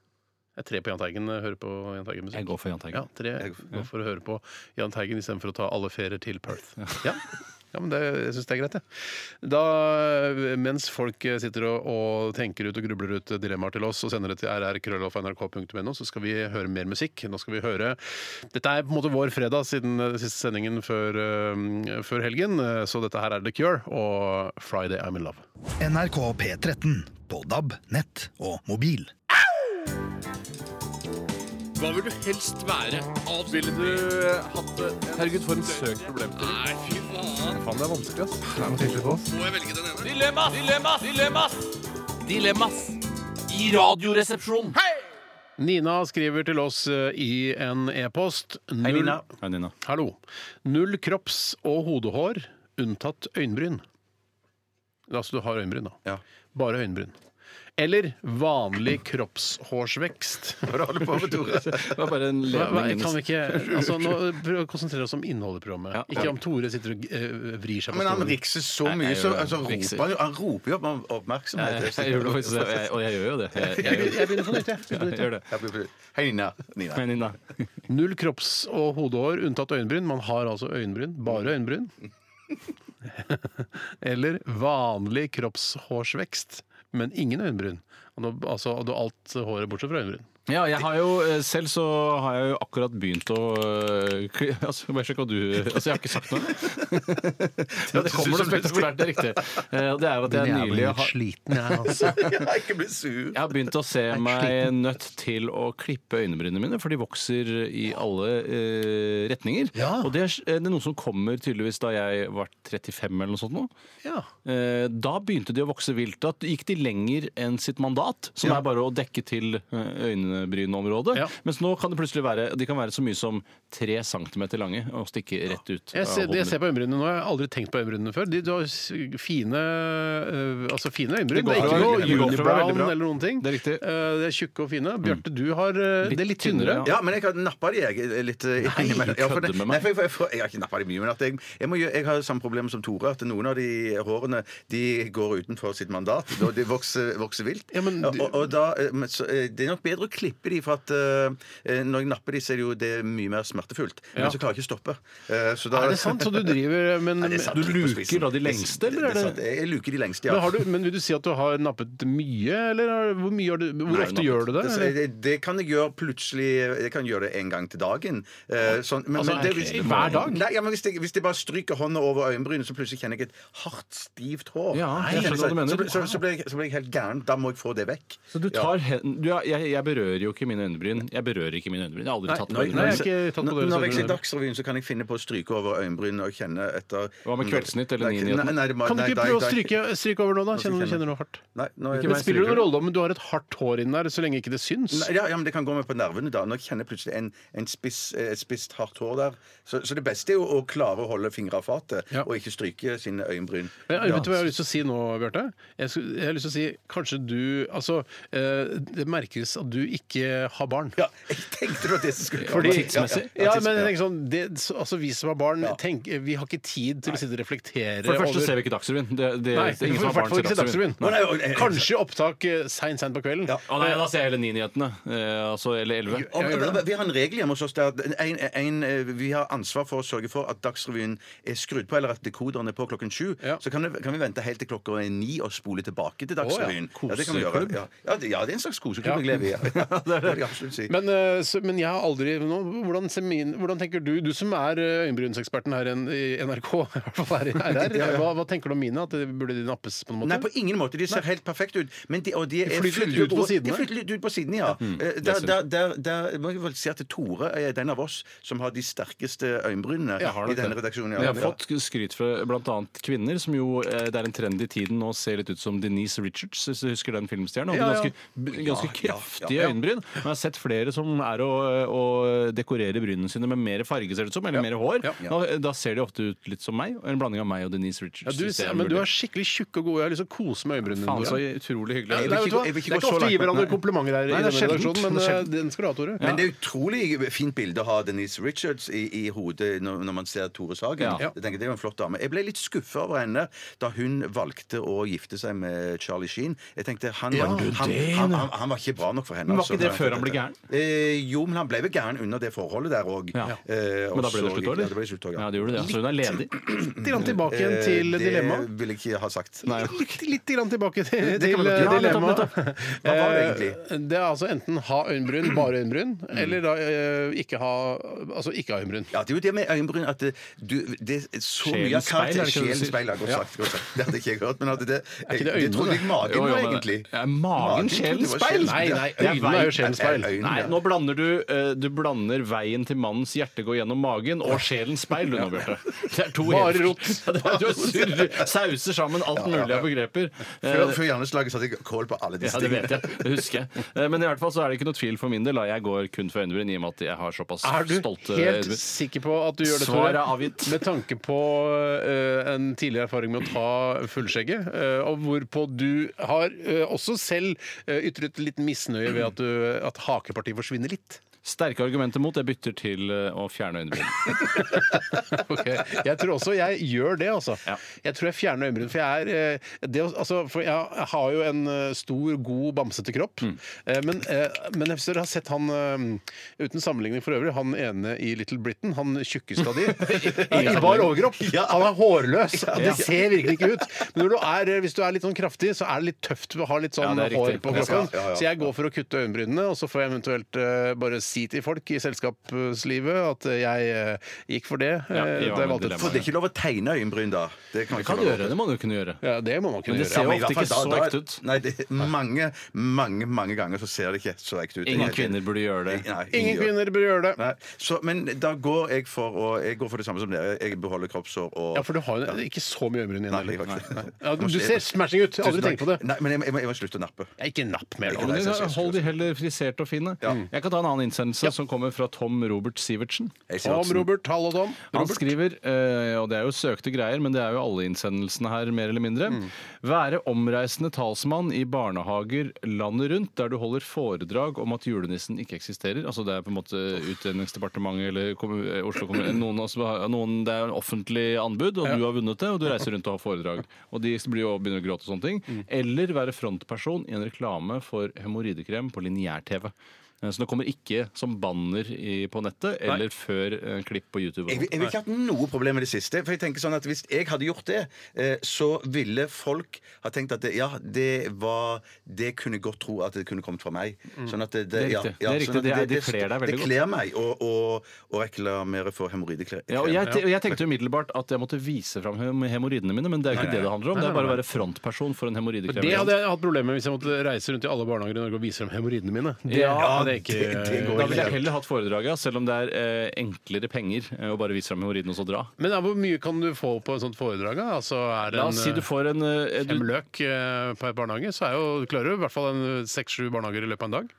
B: Det er tre på Jahn Teigen. eh, Hører på Jahn Teigen-musikk.
D: jeg går for Jahn
B: Ja,
D: Teigen.
B: tre går for å høre på Jahn Teigen istedenfor å ta alle ferier til Perth. Ja. Ja, men det, Jeg syns det er greit, jeg. Da, mens folk eh, sitter og, og tenker ut og grubler ut eh, dilemmaer til oss og sender det til rrkrøllalfa.nrk.no, så skal vi høre mer musikk. Nå skal vi høre Dette er på en måte vår fredag siden eh, siste sendingen før, eh, før helgen, eh, så dette her er The Cure og Friday I'm in Love.
E: NRK P13 på DAB, nett og mobil.
H: Hva vil du helst være? Ville du eh, hatt det? Herregud, for en søk problem til. Nei, fy faen. Faen, det er vanskelig, ass. Det er noe tydelig på oss. Må jeg velge den ene? Dilemmas! Dilemmas! Dilemmas! Dilemmas i radioresepsjonen.
B: Nina skriver til oss eh, i en e-post. Hei,
D: Hei, Nina.
B: Hallo. Null kropps- og hodehår, unntatt øyenbryn. Altså du har øyenbryn, da.
C: Ja.
B: Bare øyenbryn. Eller vanlig kroppshårsvekst.
C: Hva holder du på med, Tore?
D: Det var bare en
B: Hva, hva,
D: levning.
B: kan vi ikke altså, Nå prøv å konsentrere oss om innholdet i programmet.
D: Ja.
B: Ikke om Tore sitter og eh, vrir seg på
C: Men han
B: stolen.
C: rikser så
D: Nei,
C: mye,
D: jeg
C: så
D: gjør det.
C: altså,
D: Rikser.
C: roper han, jo- han roper jo opp om oppmerksomhet.
D: Jeg, jeg, gjorde faktisk det, og jeg, og jeg gjør jo det. Jeg, jeg, gjør det.
B: Jeg begynner på nytt, jeg.
D: jeg, gjør det.
C: Jeg blir- Hei, Nina. Nina.
D: Men Nina,
B: Null kropps- og hodehår, unntatt øyenbryn. Man har altså øyenbryn. Bare øyenbryn. Eller vanlig kroppshårsvekst, men ingen øyenbryn. Og nå- Altså, og du har alt håret bortsett fra øyenbryn.
D: ja, jeg har jo, eh, selv så har jeg jo akkurat begynt å eh, k- altså, Bare sjekk hva du Altså, jeg har ikke sagt noe. Ja, det kommer noe spektakulært, det er riktig. Eh, Det er jo at jeg nylig har
B: sliten, jeg, altså.
C: Ja, ikke bli sur.
D: jeg har begynt å se meg nødt til å klippe øyenbrynene mine, for de vokser i alle eh, retninger.
B: Ja.
D: Og det er, eh, det er noe som kommer tydeligvis da jeg var 35 eller noe sånt nå.
B: Ja.
D: Eh, Da begynte de å vokse vilt. Da gikk de lenger enn sitt mandat, som er bare å dekke til eh, øynebrynområdet.
B: Ja.
D: Mens nå kan det plutselig være De kan være så mye som tre centimeter lange og stikke rett ut.
B: Jeg
D: av
B: ser,
D: hodet
B: jeg
D: mitt.
B: ser på øyenbrynene nå. Jeg har aldri tenkt på øyenbrynene før. De, du har s- fine, øh, altså fine øyenbryn.
D: Det går
B: Det er
D: fra
B: ikke noe
D: veldig- det går fra
B: unibrown
D: veldig bra.
B: eller noen ting.
D: Det er riktig. Mm.
B: Eh, de er tjukke og fine. Bjarte, du har øh,
D: Litt
B: Det er litt tynnere.
D: tynnere,
C: Ja, men jeg har nappa de jeg, litt eh, innimellom. Ja, for det-
D: kødder med meg.
C: Nei, for jeg, for jeg, for jeg har ikke nappa de mye. Men at jeg, jeg, må, gjøre- jeg har jo samme problem som Tore, at noen av de hårene de går utenfor sitt mandat. Og de vokser, vokser vilt.
B: Ja, men du-
C: og, og da, eh, men så, eh, det er nok bedre å klippe de, for at eh, når jeg napper de, så er det jo det er mye mer smertefullt.
B: Ja.
C: Men så klarer jeg ikke å stoppe. Eh, så da-
B: Er det sant? Så du driver eh, men,
C: Nei, det er sant,
D: Du
C: litt på
D: luker
C: spissen.
D: da de lengste, eller er
C: Det er
D: det-
C: sant. Jeg luker de lengste, ja.
B: men, har du, men vil du si at du har nappet mye, eller har- hvor, mye har du, hvor
D: Nei,
B: ofte
D: nappet.
B: gjør du det?
C: Det,
B: eller?
C: det, det kan jeg gjøre plutselig Jeg kan gjøre det en gang til dagen. Eh, sånn, men,
B: Altså,
C: men det, hvis,
B: ok, hver dag?
C: Nei, ja, men hvis, jeg, hvis jeg bare stryker hånda over øyenbrynet, så plutselig kjenner jeg et hardt, stivt hår.
D: Ja,
C: Så kjenner
D: jeg skjønner hva du
C: så,
D: mener.
C: så, så, blir jeg, så blir jeg helt gæren. Da må jeg få det vekk.
D: Så du tar hen, du, er- jeg, jeg berører jo ikke mine øyenbryn. Jeg berører ikke mine øyenbryn. Jeg har aldri tatt på
B: nei,
D: øyenbryn.
B: jeg har ikke tatt på
C: Når
B: dere, så
C: når jeg
B: dere-
C: ser Dagsrevyen, så kan jeg finne på å stryke over øyenbrynene og kjenne etter
D: Hva med Kveldsnytt eller
C: Nei,
D: Nyhetene?
C: nei, nei, det må-
B: Kan du
C: nei,
B: ikke
C: da-
B: prøve å
C: da-
B: stryke, stryke over nå, da? Kjenner,
C: kjenner-
B: kjenner du noe hardt?
C: Nei, nå er
D: Ikke
C: det-
D: meg.
B: Det spiller jo
D: stryker
B: noen
D: du.
B: rolle om du har et hardt hår inni der, så lenge ikke det syns.
C: Nei, Ja, ja, men Det kan gå med på nervene. da Når jeg kjenner plutselig en, en spiss, eh, spisst hardt hår der så, så det beste er jo å klare å holde fingra av fatet
B: Ja.
C: og ikke stryke sine øyenbryn.
B: Men, eh,
C: Ja.
B: Vet du hva jeg har lyst til å si nå, Bjarte? Jeg, skulle- jeg har lyst til å si kanskje du Altså, eh, det merkes at du ikke har barn.
C: Ja, jeg tenkte det var det som skulle komme.
B: Fordi-
D: tidsmessig.
C: Ja,
B: Ja,
C: tids-
B: men jeg
C: ja.
B: tenker sånn, det, så- altså Vi som har barn,
C: Ja.
B: tenk, eh, vi har ikke tid til å sitte og reflektere
D: For det første
B: over
D: ser vi ikke Dagsrevyen. Det, det,
B: Nei,
D: det
B: vi
D: er ingen
B: får
D: som
B: i hvert
D: har barn
B: fall
D: til
B: ikke se Dagsrevyen.
D: Dagsrevyen.
C: Nei, nei, nei,
B: Kanskje opptak eh, seint, seint på kvelden.
C: Ja.
D: Å nei, da ser jeg heller 9-nyhetene. Eh, altså, eller 11.
C: Om, vi- vi har en regel hjemme hos oss der at en, en, eh, vi har ansvar for å sørge for at Dagsrevyen er skrudd på, eller at dekoderen er på klokken sju.
B: Ja.
C: Så kan, det, kan vi vente helt til klokka er ni og spole tilbake til Dagsrevyen.
B: Å, ja.
C: det kan vi gjøre. Ja, ja, det, ja det er en slags koseklubb jeg lever i. Ja. det vil jeg absolutt si.
B: Men, eh, så, men jeg har aldri nå, hvordan, ser min, hvordan tenker du, du som er eh, øyenbrynseksperten her i en- i NRK, i hvert fall her i RR,
C: Ja, ja.
B: Hva, hva tenker du om mine? At det burde de nappes på en måte?
C: Nei, på ingen måte. De ser helt perfekte ut. Men de, og de, er
B: flyter
C: flyttet
B: ut på
C: over-
B: sidene.
C: De flytter litt ut på sidene, ja. Eh, Der,
D: det
C: der, der, der må jeg vel si at Tore er den av oss som har de sterkeste øyenbrynene
D: Jeg har
C: i
D: nok
C: denne
D: det.
C: redaksjonen.
D: Jeg har fått skryt fra bl.a. kvinner, som jo eh, det er en trend i tiden nå ser litt ut som Denise Richards, hvis du husker den filmstjernen. Og
B: Ja, ja.
D: Ganske, b- ganske kraftige
C: ja.
D: øyenbryn. Men jeg har sett flere som er å, eh, å dekorere brynene sine med mer farge, ser det ut som, eller mer hår. Da, da ser de ofte ut litt som meg. En blanding av meg og Denise Richards.
B: Ja, du,
D: hvis det
B: men du
D: mulig.
B: er skikkelig tjukk og god. Jeg har lyst til å kose med øyenbrynene
D: Faen,
B: dine.
D: så utrolig hyggelig.
B: Nei,
C: Jeg vil
B: vet
C: ikke
B: du hva?
C: gå- jeg vil
B: Det
C: ikke gå
B: er
C: så
B: ikke ofte vi gir
C: langt,
B: hverandre
C: nei.
B: komplimenter her,
C: Nei,
B: i
C: det er
B: denne
C: sjelden.
B: redaksjonen, men
C: Det er
B: eh,
C: sjelden.
B: den skal du ha, Tore.
C: Men det er utrolig fint bilde å ha Denise Richards i, i hodet når, når man ser Tore Sagen.
D: Ja.
C: Jeg tenker det er jo en flott dame. Jeg ble litt skuffa over henne da hun valgte å gifte seg med Charlie Sheen. Jeg tenkte han, var-
D: du
C: han,
D: det,
C: han, han, han var ikke bra nok for henne.
D: Men var ikke det
C: Nei,
D: før han ble gæren?
C: Eh, jo, men han ble vel gæren under det forholdet der òg.
D: Ja. Men da ble det slutt,
C: Ja,
D: eller?
C: det ble slutt også,
D: Ja,
C: ja.
D: det gjorde det. Så hun er ledig.
B: Litt grann tilbake igjen
C: Eh,
B: til dilemmaet.
C: Det vil jeg ikke ha sagt.
B: Litt, litt grann tilbake til,
C: kan
B: til
C: vi
B: eh,
C: godt gjøre. Ja, nettopp,
B: dilemmaet.
C: Hva var det
B: Eh, det er altså enten ha øyenbryn, bare øyenbryn, eller da eh, ikke ha Altså ikke ha øyenbryn.
C: Ja, det er jo det med øyenbryn at det, du, det er så mye av
D: Sjelens speil, er det ikke det du
C: Sjelens
D: sier?
C: speil, ja, godt sagt. Godt sagt. Det hadde ikke jeg hørt. Men at det, jeg,
B: ikke det
C: det,
B: øynene,
C: trodde jeg
B: det?
C: magen
D: Jo, jo,
C: var,
D: men-
C: egentlig.
D: Ja, magen,
C: trodde jeg
D: sjelens
C: var
D: speil?
C: sjelens-
B: Nei, nei,
C: Det er
B: øynene er jo
C: vei-
B: sjelens speil.
C: øynene,
D: Nei,
C: ja.
D: nå blander du eh, Du blander veien til mannens hjerte går gjennom magen og sjelens speil, du nå, Bjarte. Det er to
B: Bare
D: helt-
B: rot.
D: Ja, det er- Du surrer, sauser sammen alt mulig av begreper. Eh,
C: Før, før Janneslaget satte jeg kål på alle disse
D: Ja, det vet
C: tingene.
D: jeg. Det husker jeg. Eh, Men i hvert fall så er det ikke noe tvil for min del. da. Jeg går kun for øyenbryn i og med at jeg har såpass
B: Er du
D: stolte
B: helt
D: øyenbryn.
B: sikker på at du gjør det,
D: eh, Svaret er avgitt.
B: Med tanke på eh, en tidligere erfaring med å ta fullskjegget, eh, og hvorpå du har eh, også selv eh, ytret litt misnøye ved at, du, at hakepartiet forsvinner litt.
D: Sterke argumenter mot. Jeg bytter til eh, å fjerne øyenbryn.
B: Ok, Jeg tror også jeg gjør det, altså.
D: Ja.
B: Jeg tror jeg fjerner øyenbryn. For jeg er eh, det, å- altså, for jeg har jo en eh, stor, god, bamsete kropp.
D: Mm.
B: Eh, Men, eh, men hvis dere har sett han eh, uten sammenligning for øvrig, han ene i Little Britain, han tjukkeste av de, i i bar overkropp, han er hårløs. og Det ser virkelig ikke ut. Men når du er, eh, hvis du er litt sånn kraftig, så er det litt tøft å ha litt sånn
D: Ja, det er
B: hår
D: riktig.
B: på
D: Ja,
B: kroppen.
C: ja, ja.
B: Så jeg går for å kutte øyenbrynene, og så får jeg eventuelt eh, bare si til folk i selskapslivet at jeg eh, gikk for det.
D: Ja,
B: eh, da
D: i
B: jeg
D: vanlig
B: valgte
D: dilemma.
C: For det er ikke lov å tegne øyenbryn, da. Det kan,
D: Det kan du gjøre. Det må du kunne gjøre.
B: Ja, det må man kunne
D: Men det ser
C: i
B: gjøre. Ja,
D: jo
C: hvert
D: ofte ikke
C: fall
D: så
C: da- da-
D: ekte ut.
C: Nei, det, mange, mange mange ganger så ser det ikke så ekte ut.
D: Ingen
C: Jeg-
D: kvinner burde gjøre det.
C: Nei,
B: men Ingen kvinner bør gjøre det.
C: Nei, så, men da går jeg for å, Jeg går for det samme som dere. Jeg beholder kroppshår og
B: Ja, for du har jo ikke så mye øyenbryn igjen.
C: Nei, jeg
B: heller.
C: har ikke det.
B: Ja, du ser smashing ut. Jeg har
C: Tusen
B: aldri
C: takk.
B: tenkt på det.
C: Nei, men jeg, må- jeg, må- jeg må slutte å nappe.
B: Jeg er ikke napp mer
C: Ikke
B: nå.
C: det.
D: Men da Hold de heller friserte og fine. Jeg kan ta en annen innsendelse som kommer fra Tom Robert Sivertsen.
C: Jeg sier
B: Tom
C: Otsen.
B: Robert, hallo Tom.
D: Han
B: Robert.
D: skriver, eh, og det er jo søkte greier, men det er jo alle innsendelsene her, mer eller mindre.
C: Mm.
D: Være omreisende talsmann i barnehager landet rundt, der du holder foredrag om at julenissen ikke eksisterer. Altså det er på en måte Utlendingsdepartementet eller kommu- eh, Oslo kommune noen, av oss har- noen, Det er en offentlig anbud, og du har vunnet det, og du reiser rundt og har foredrag. Og de blir jo begynner å gråte og sånne ting.
C: Mm.
D: Eller være frontperson i en reklame for hemoroidekrem på lineær-TV. Eh, Så det kommer ikke som banner i, på nettet eller før eh, klipp på YouTube. og
C: Jeg, vil- jeg vil ikke hatt noe problem med det siste. For jeg tenker sånn at Hvis jeg hadde gjort det, eh, så ville folk ha tenkt at det, ja, det var Det kunne jeg godt tro at det kunne kommet fra meg. Sånn at det,
D: Det er
C: ja,
D: riktig.
C: ja,
D: Det er riktig.
C: sånn at
D: Det er- det kler deg veldig
C: Det kler meg å, å, å reklamere for hemoroidekrem.
D: Ja, og jeg, te- og jeg tenkte umiddelbart at jeg måtte vise fram hem- hemoroidene mine, men det er jo ikke det det handler om. Det er bare å være frontperson for en hemoroidekrem.
B: Det hadde jeg hatt problemer med hvis jeg måtte reise rundt i alle barnehager i Norge og vise frem hemoroidene mine. Det
D: Ja,
B: hadde jeg ikke
C: det- det går
D: Da ville jeg heller hatt foredraget, selv om det er eh, enklere penger eh, å bare vise fram hemoroidene og så dra.
B: Men ja, hvor mye kan du få på et sånt foredrag? da? Altså, er det
D: La oss si
B: en,
D: du får en eh,
B: fem
D: du,
B: løk eh, på et barnehage, så er jo, du klarer du i hvert fall en seks-sju barnehager i løpet av en dag.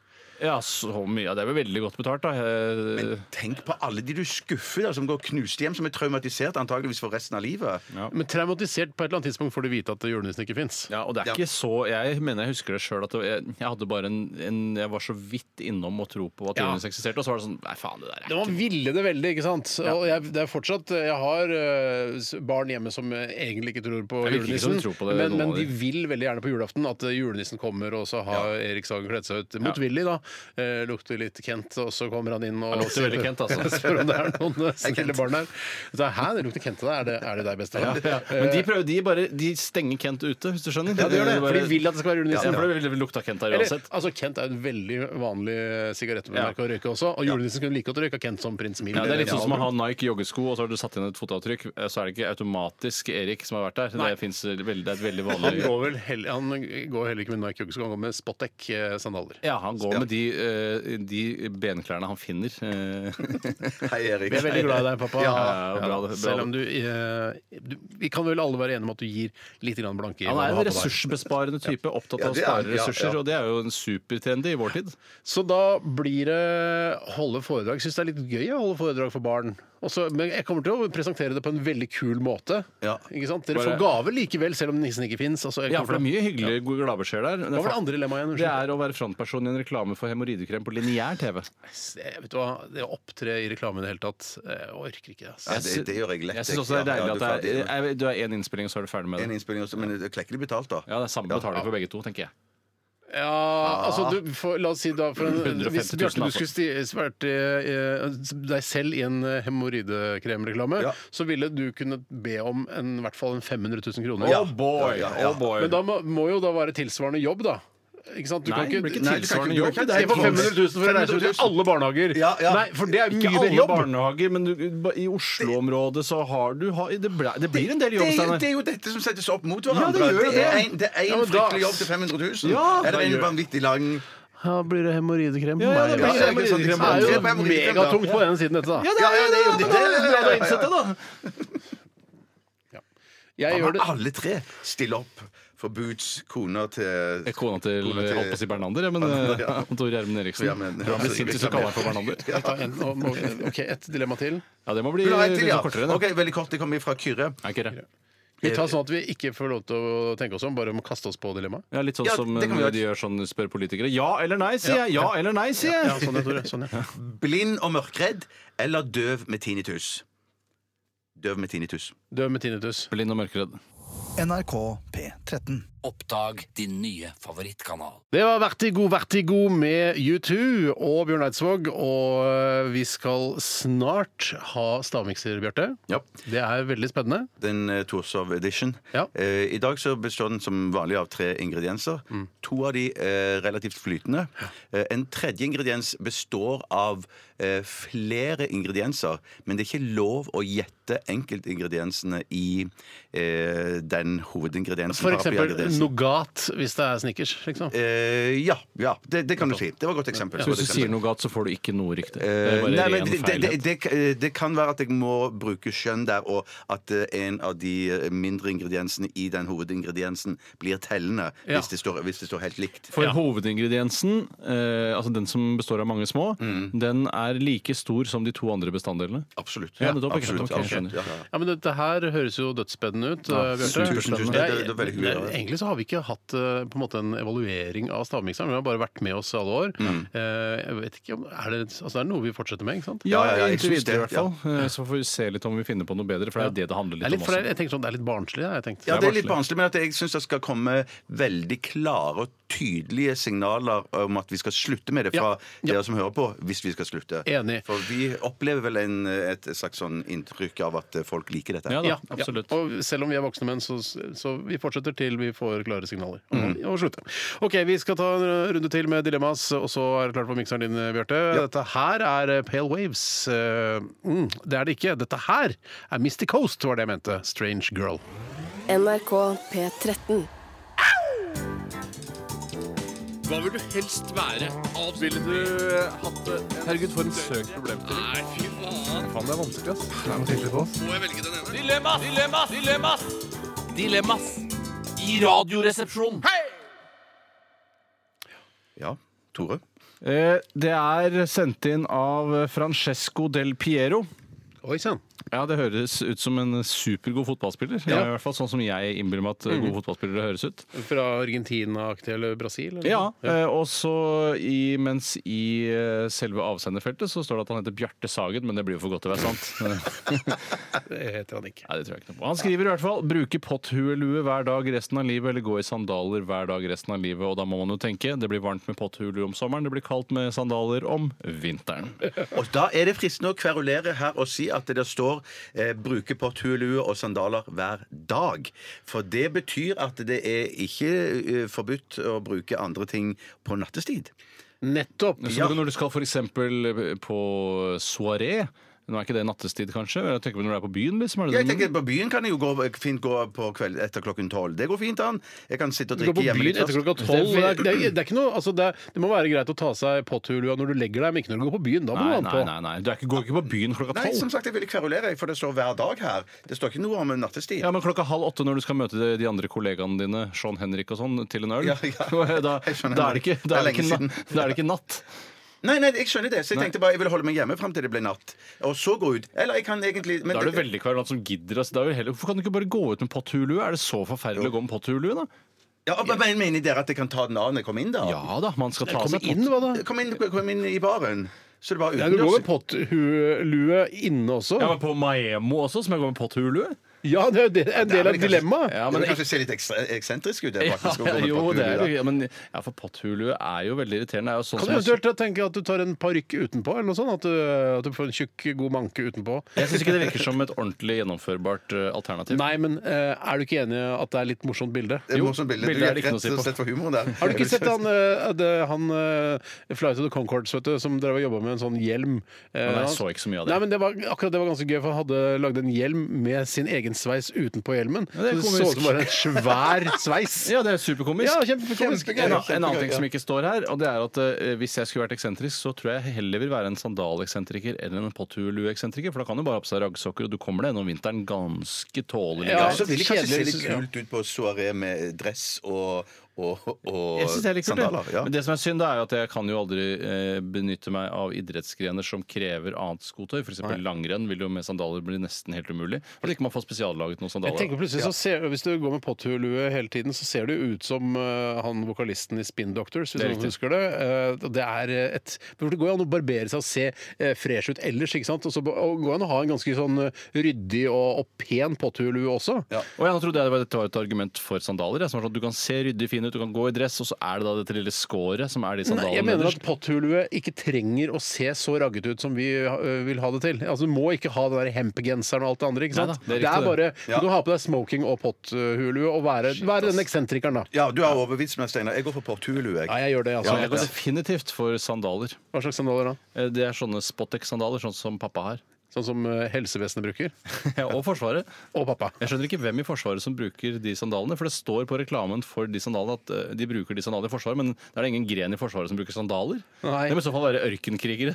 D: Ja, så mye. Ja, Det er vel veldig godt betalt, da. Eh,
C: Men tenk på alle de du skuffer, da, som går knust hjem, som er traumatisert antageligvis for resten av livet.
B: Men traumatisert på et eller annet tidspunkt får du vite at julenissen ikke fins.
D: Ja, og det er ikke så Jeg mener jeg husker det sjøl at det, jeg, jeg hadde bare en, en Jeg var så vidt innom å tro på at
B: Ja.
D: Jonis eksisterte, og så var det sånn Nei, faen, det der er
B: Det var ville det veldig, ikke sant? Og jeg, det er fortsatt, jeg har eh, s- barn hjemme som eh, egentlig ikke tror på
D: Det virker ikke som
B: julenissen,
D: de tror på det,
B: men,
D: noen
B: men
D: av
B: de
D: de.
B: vil veldig gjerne på julaften at eh, julenissen kommer, og så har Erik Sagen kledd seg ut motvillig, da. Eh, lukter litt Kent, og så kommer han inn og
D: Han lukter veldig Kent, altså.
B: spør om det er noen eh, snille barn her. Så, Hæ, det lukter Kent til deg? Er det, er det deg, Eh, bestefar?
D: Ja. Men de prøver, de bare de stenger Kent ute, hvis du skjønner.
B: Ja, det gjør det, for de
D: bare-
B: vil at det skal være julenissen.
D: Ja, for det vil- vil lukta Kent der
B: Eller,
D: uansett.
B: altså, Kent er et veldig vanlig eh, sigarettmerke å røyke også, og julenissen kunne like godt røyka Kent som prins Mil.
D: Ja, det er litt sånn som å ha Nike joggesko, og så har du satt igjen et fotavtrykk. eh, Så er det ikke automatisk Erik som har vært der. Det, finnes veldig, det er et veldig
B: Han
D: vanlig
B: eh, går vel heller, han går heller ikke med Nike joggesko, han går med Spotek-sandaler.
D: ja, han går med de eh, de benklærne han finner. Eh,
C: Hei, Erik.
B: Vi er veldig glad i deg, pappa.
C: Ja,
D: ja, bra det, bra
B: Selv om du, eh, du Vi kan vel alle være enige om at du gir litt grann blanke i
D: han
B: hva
D: er
B: du
D: en
B: har på deg.
D: ressursbesparende type, opptatt av å
C: det er han,
D: spare
C: ja,
D: ressurser,
C: ja.
D: og det er jo en supertrendy i vår tid.
B: Så da blir det holde foredrag. Jeg syns det er litt gøy å holde foredrag for barn. Også, men jeg kommer til å presentere det på en veldig kul måte.
C: Ja.
B: Ikke sant? Dere
D: Bare-
B: får gave likevel, selv om nissen ikke fins. Altså, jeg
D: Ja,
B: kommer
D: for det er
B: til å-
D: mye hyggelige gode gladbeskjeder der.
B: Hva var det andre dilemmaet igjen?
D: Det
B: Unnskyld.
D: er å være frontperson i en reklame for hemoroidekrem på lineær TV.
B: Jeg vet du hva, det å opptre i reklame i det hele tatt, eh, jeg orker ikke det.
C: Ja,
B: Altså.
C: det, det gjør jeg lett.
D: Jeg syns også det er
C: Ja, ja,
D: deilig
C: du
D: at det
C: er ferdig.
D: er, du er én innspilling, så er du ferdig med
C: En
D: det.
C: innspilling også, men det er klekkelig betalt, da.
D: Ja, det er samme betaling for begge to, tenker jeg.
B: Ja, altså du, for, La oss si da for en,
D: 150 000
B: Hvis Bjarte,
D: altså.
B: du skulle sti, vært eh, deg selv i en eh, hemoroidekremreklame,
C: Ja.
B: så ville du kunne be om en, i hvert fall en 500 000 kroner.
C: Oh
D: boy!
C: Ja, ja, ja.
D: boy!
B: Men da må, må jo da være tilsvarende jobb, da. Ikke sant? Du kan
D: Nei, det blir
B: ikke
D: ikke
B: Nei,
D: tilsvarende
C: du kan
D: jobb.
C: ikke- det er
B: Se på 500 000 for å reise ut i
C: 500 000.
B: alle barnehager!
C: Ja, ja.
B: Nei, for det er mye
D: Ikke
B: mer
D: alle
B: jobb!
D: barnehager, men du, ba- i Oslo-området så har du ha, det, ble, det blir en del jobb,
C: Det er, jo- det
D: Steinar.
C: er jo dette som settes opp mot hverandre.
D: Ja, det gjør
C: er
D: det.
C: en- det er
B: Ja,
C: en
B: men da-
C: fryktelig jobb til 500 000.
D: Ja,
C: Eller
D: da
C: en
D: gjør-
C: vanvittig lang
B: Ja, blir det hemoroidekrem på
D: Ja, ja,
B: meg?
D: det
B: Ja,
D: blir
B: det
C: ikke sånn sant,
B: er
C: det blir
B: jo
C: hemoroidekrem, da.
B: megatungt på den siden, dette, da.
C: Ja, ja, det er jo
D: men
C: det.
D: da er bra du har innsett det, da.
B: Jeg
C: Da
B: gjør
C: må
B: det
C: alle tre stille opp for Boots koner til
D: Kona til
C: Kona til-
D: jeg holdt på å si Bernander, jeg, men
C: Bernander, ja.
D: eh, Tor Gjermund Eriksen.
C: Ja, men-
D: Han blir sint hvis du kaller ham for Bernander.
B: Ja, en- og- og- OK, ett dilemma til.
D: Ja, det må bli
C: Vil du ha en til, ja?
D: litt kortere. da.
C: Ok, Veldig kort. Det kommer fra Kyrre.
D: Nei, ikke det.
B: Vi tar sånn at vi ikke får lov til å tenke oss om, bare må kaste oss på dilemmaet.
D: Ja, litt sånn
C: Ja,
D: som
C: det kan vi
D: når
C: gjøre.
D: de gjør sånn, spør politikere. Ja eller nei, sier jeg! Ja eller nei, sier
B: Ja,
D: jeg!
B: sånn ja, Tore. Sånn, ja.
C: Blind og mørkredd eller døv med tinnitus? Døv med tinnitus.
B: Døv med tinnitus.
D: Blind og mørkredd.
E: NRK P13.
H: Oppdag din nye favorittkanal.
B: Det var Vertigo Vertigo med U2 og Bjørn Eidsvåg. Og eh, vi skal snart ha stavmikser, Bjarte.
C: Ja.
B: Det er veldig spennende.
C: Den uh, Torshov Edition.
B: Ja.
C: Eh, I dag så består den som vanlig av tre ingredienser.
D: Mm.
C: To av de er relativt flytende. Eh, en tredje ingrediens består av eh, flere ingredienser, men det er ikke lov å gjette enkeltingrediensene i eh, den hovedingrediensen.
B: For eksempel
C: papiraggrediensen.
B: Nougat hvis det er Snickers. Liksom.
C: Eh, ja, ja det, det kan du si. Det var et godt eksempel.
D: Så hvis du sier noe galt, så får du ikke noe riktig. Det
C: Eh,
D: er
C: nei,
D: bare
C: men
D: ren
C: det, det, det,
D: feilhet.
C: det, eh, det kan være at jeg må bruke skjønn der, og at eh, en av de eh, mindre ingrediensene i den hovedingrediensen blir tellende
B: Ja.
C: hvis, det står, hvis det står helt likt.
D: For hovedingrediensen, eh, altså den som består av mange små, den er like stor som de to andre bestanddelene.
C: Absolutt.
D: Ja, nettopp, ikke sant?
C: absolutt,
D: Ok, jeg
C: absolutt,
D: skjønner.
C: ja, ja.
B: Ja, men Dette her høres jo dødsspennende ut. eh, Bjarte.
C: tusen, tusen, tusen.
B: Jeg-
C: Det- det er veldig hyggelig, ja.
B: Egentlig så har vi ikke hatt eh, på en måte en evaluering av stavmikseren. Vi har bare vært med oss alle år.
C: Mm.
B: Eh, Jeg vet ikke om, er det, altså det er noe vi fortsetter med, ikke sant?
D: Ja,
C: Ja, ja, ja, jeg
D: inntil
C: synes
D: videre i
C: det,
D: hvert fall. Eh, Så får vi se litt om vi finner på noe bedre, for det er jo det det handler
B: Det er
D: litt
B: litt,
D: om
B: for jeg,
D: også.
B: jeg tenkte sånn, det er litt barnslig. Jeg tenkte.
C: Ja, det er litt
D: barnslig.
C: vanskelig, men at jeg syns det skal komme veldig klare og tydelige signaler om at vi skal slutte med det fra
B: Ja, ja.
C: dere som hører på, hvis vi skal slutte.
B: Enig.
C: For vi opplever vel en, et slags sånn inntrykk av at folk liker dette.
D: Ja da,
B: Ja,
D: absolutt.
B: Ja. Og selv om vi er voksne menn, så, så vi fortsetter til vi får klare signaler.
D: Mhm.
B: om å slutte. Ok, Vi skal ta en runde til med dilemmas, og så er det klart for mikseren din, Bjarte. Dette her er Pale Waves. Eh, Mm, det er det ikke. Dette her er Misty Coast, var det jeg mente. Strange Girl.
I: NRK P13.
H: Hva vil du helst være? Ville du hatt det? Herregud, for en søk problem til. Nei, fy faen. Faen, det er vanskelig, ass. Det er noe tydelig på oss. Må jeg velge den ene? Dilemmas! Dilemmas! Dilemmas! Dilemmas i Radioresepsjonen.
C: Ja, Tore?
D: Eh, Det er sendt inn av Francesco del Piero.
B: Oi sann.
D: Ja, det høres ut som en supergod fotballspiller.
B: Ja. Mm.
D: I hvert fall sånn som jeg innbiller meg at gode fotballspillere høres ut.
B: Fra Argentina-aktig eller Brasil? Eller?
D: Ja, eh, og så i, mens i eh, selve avsenderfeltet så står det at han heter Bjarte Sagen, men det blir jo for godt til å være sant.
B: Det heter han ikke.
D: Nei, det tror jeg ikke noe på. Han skriver i hvert fall 'bruke potthuelue hver dag resten av livet', eller 'gå i sandaler hver dag resten av livet'. Og da må man jo tenke det blir varmt med potthuelue om sommeren, det blir kaldt med sandaler om vinteren.
C: Og da er det fristende å kverulere her og si at det står eh, 'bruke porthuelue og sandaler hver dag'. For det betyr at det er ikke eh, forbudt å bruke andre ting på nattestid.
B: Nettopp.
D: Så når du skal f.eks. på soaré eh, Nå er ikke det nattestid, kanskje? Jeg tenker på når du er på byen, liksom. Er det
C: Jeg
D: den-
C: tenker På byen kan jeg jo gå, fint gå på kveld etter klokken tolv. Det går fint an. Jeg kan sitte og
B: Du går
C: drikke
B: på
C: hjemme
B: byen
C: litt
B: etter
C: først.
B: klokka tolv. Det, er- det, er- det er ikke noe altså det, er, det må være greit å ta seg potthulua når du legger deg, men ikke når du går på byen. Da må
D: Nei,
B: du ha
D: nei,
B: den på.
D: nei, nei. Du er ikke, går ikke på byen klokka
C: Nei, som
D: tolv.
C: sagt, jeg ville kverulere, jeg, for det står hver dag her. Det står ikke noe om nattestid.
D: Ja, men klokka halv åtte når du skal møte de- de andre kollegaene dine, Sean Henrik og sånn, til en øl,
C: Ja, ja.
D: Da,
C: Jeg skjønner.
D: da er det ikke, da er det
C: Det er
D: ikke,
C: lenge
D: na,
C: siden.
D: da er det ikke natt.
C: Nei, nei, jeg skjønner det. Så jeg tenkte bare jeg ville holde meg hjemme fram til det ble natt. Og så gå ut. Eller jeg kan egentlig men
D: Da er det veldig kvalant som gidder. Altså, da er det heller, hvorfor kan du ikke bare gå ut med potthulue? Er det så forferdelig å gå med potthulue, da?
C: ja, men Mener dere at jeg kan ta den av når jeg kommer inn, da?
D: Ja da, man skal ta
B: Kom
D: seg
B: inn, hva da?
C: Kom inn, kom inn i baren. Så det var
B: Ja, du går med
C: utendørs.
B: potthulue inne også.
D: Ja, men På Maemo også, som jeg går med potthulue?
B: Ja, det er jo det- en del av
C: men kanskje-
B: dilemmaet.
D: Ja,
C: Det
D: men
C: vil kanskje se litt ekstra, eksentrisk ut. det, faktisk, å gå med
D: jo, det
C: potthulue,
D: er
C: da.
D: jo ja, men, ja, for potthulue er jo veldig irriterende. Det er jo sånn
B: Kan
D: som
B: du
D: jeg-
B: eventuelt tenke at du tar en parykk utenpå, eller noe sånt? At du, at du får en tjukk, god manke utenpå?
D: Jeg syns ikke det virker som et ordentlig gjennomførbart eh, alternativ.
B: Nei, men eh, er du ikke enig i at det er litt morsomt bilde?
C: Det er morsomt bilde.
D: bildet
C: Du
D: er
C: er
D: det
C: rett
D: ikke noe å si på.
C: og slett for humoren der.
B: Har du ikke sett han, eh, det- han eh, Flight of the Concords vet du, som drev og jobba med en sånn hjelm? Eh,
D: Nei, jeg
B: han-
D: så ikke så mye av det.
B: Nei, men det var, akkurat det var ganske gøy, for han hadde lagd en hjelm med sin egen sveis utenpå hjelmen.
D: Ja, det
B: så
D: er
B: det så ut
D: komisk.
B: som bare en svær sveis.
D: Ja, det er superkomisk.
B: Ja, kjempekomisk.
D: En, en annen ting som ikke står her, og det er at eh, hvis jeg skulle vært eksentrisk, så tror jeg heller vil være en sandaleksentriker eller en potthulueksentriker, for da kan du bare ha på seg raggsokker, og du kommer deg gjennom vinteren ganske tålelig. altså.
B: Ja,
C: Ja, så vil jeg kanskje se
B: kjedelig,
C: litt
B: ja.
C: kult ut på soaré med dress og, og, og
D: Jeg synes det er litt kult,
C: sandaler.
D: ja.
C: Ja.
D: Men det som er synd, da, er jo at jeg kan jo aldri eh, benytte meg av idrettsgrener som krever annet skotøy. F.eks. langrenn vil jo med sandaler bli nesten helt umulig. At ikke man får spesiallaget noen
B: Jeg
D: sandaler.
B: tenker plutselig så ser, Hvis du går med potthulue hele tiden, så ser du ut som eh, han vokalisten i Spin Doctors, hvis
D: Det er
B: noen
D: riktig.
B: husker det. Eh, og det er eh, et for Det går jo an å barbere seg og se eh, fresh ut ellers, ikke sant? Og så ba- og går det an å ha en ganske sånn eh, ryddig og, og pen potthulue også.
D: Og jeg trodde jeg det var, dette var et argument for sandaler. Jeg, som var sånn at du kan se ryddig fin ut, du kan gå i dress, og så er det da dette lille skåret som er de
B: Nei,
D: sandalene
B: jeg mener at
D: nederst.
B: potthulue ikke trenger å se så ragget ut som vi eh, vil ha det til. Altså, Du må ikke ha den der hempegenseren og alt det andre. ikke sant?
D: Neida, det
B: det,
D: er riktig,
B: er bare
C: Ja.
B: Du har på deg smoking og potthulue og være, være den eksentrikeren, da.
C: ja, du har overbevist meg, Steinar. Jeg går for porthulu, jeg.
B: Ja, jeg gjør det, altså.
D: Så jeg går definitivt for sandaler.
B: Hva slags sandaler da?
D: Eh, Det er sånne Spotex-sandaler, sånn som pappa har.
B: Sånn som eh, helsevesenet bruker.
D: og Forsvaret.
B: Og pappa.
D: Jeg skjønner ikke hvem i Forsvaret som bruker de sandalene. For det står på reklamen for de sandalene at eh, de bruker de sandalene i Forsvaret, men da er det ingen gren i Forsvaret som bruker sandaler.
B: Nei.
D: Det må i så fall være ørkenkrigere.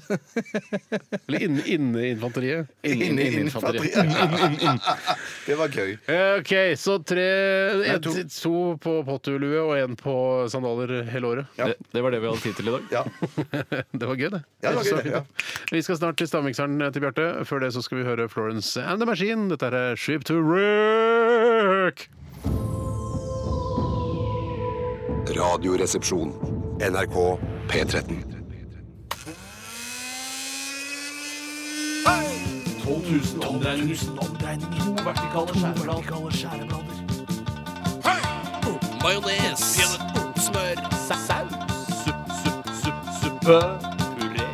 B: Eller inne i infanteriet.
D: Innen
C: Inne-
D: infanteriet.
C: Det var gøy.
B: OK, så tre en,
C: to.
B: to. på pottulue og én på sandaler hele året.
D: Det, det var det vi hadde tid til i dag.
C: Ja,
B: Det var gøy, det.
C: ja det var gøy, det. Ja.
B: Vi skal snart til stavmikseren eh, til Bjarte. Før det så skal vi høre Florence and the Machine. Dette er eh, Ship to Wreck!
G: Radioresepsjon. NRK P13.
H: 12 000 omdreininger. To vertikale skjæreblader. Majones. Smør. Saus. Supp, supp, supp, suppe. Puré.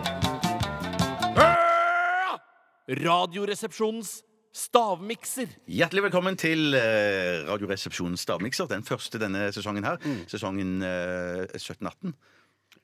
H: Radioresepsjonens stavmikser.
C: Hjertelig velkommen til eh, Radioresepsjonens stavmikser. Den første denne sesongen her.
B: Mm.
C: Sesongen eh, 17-18.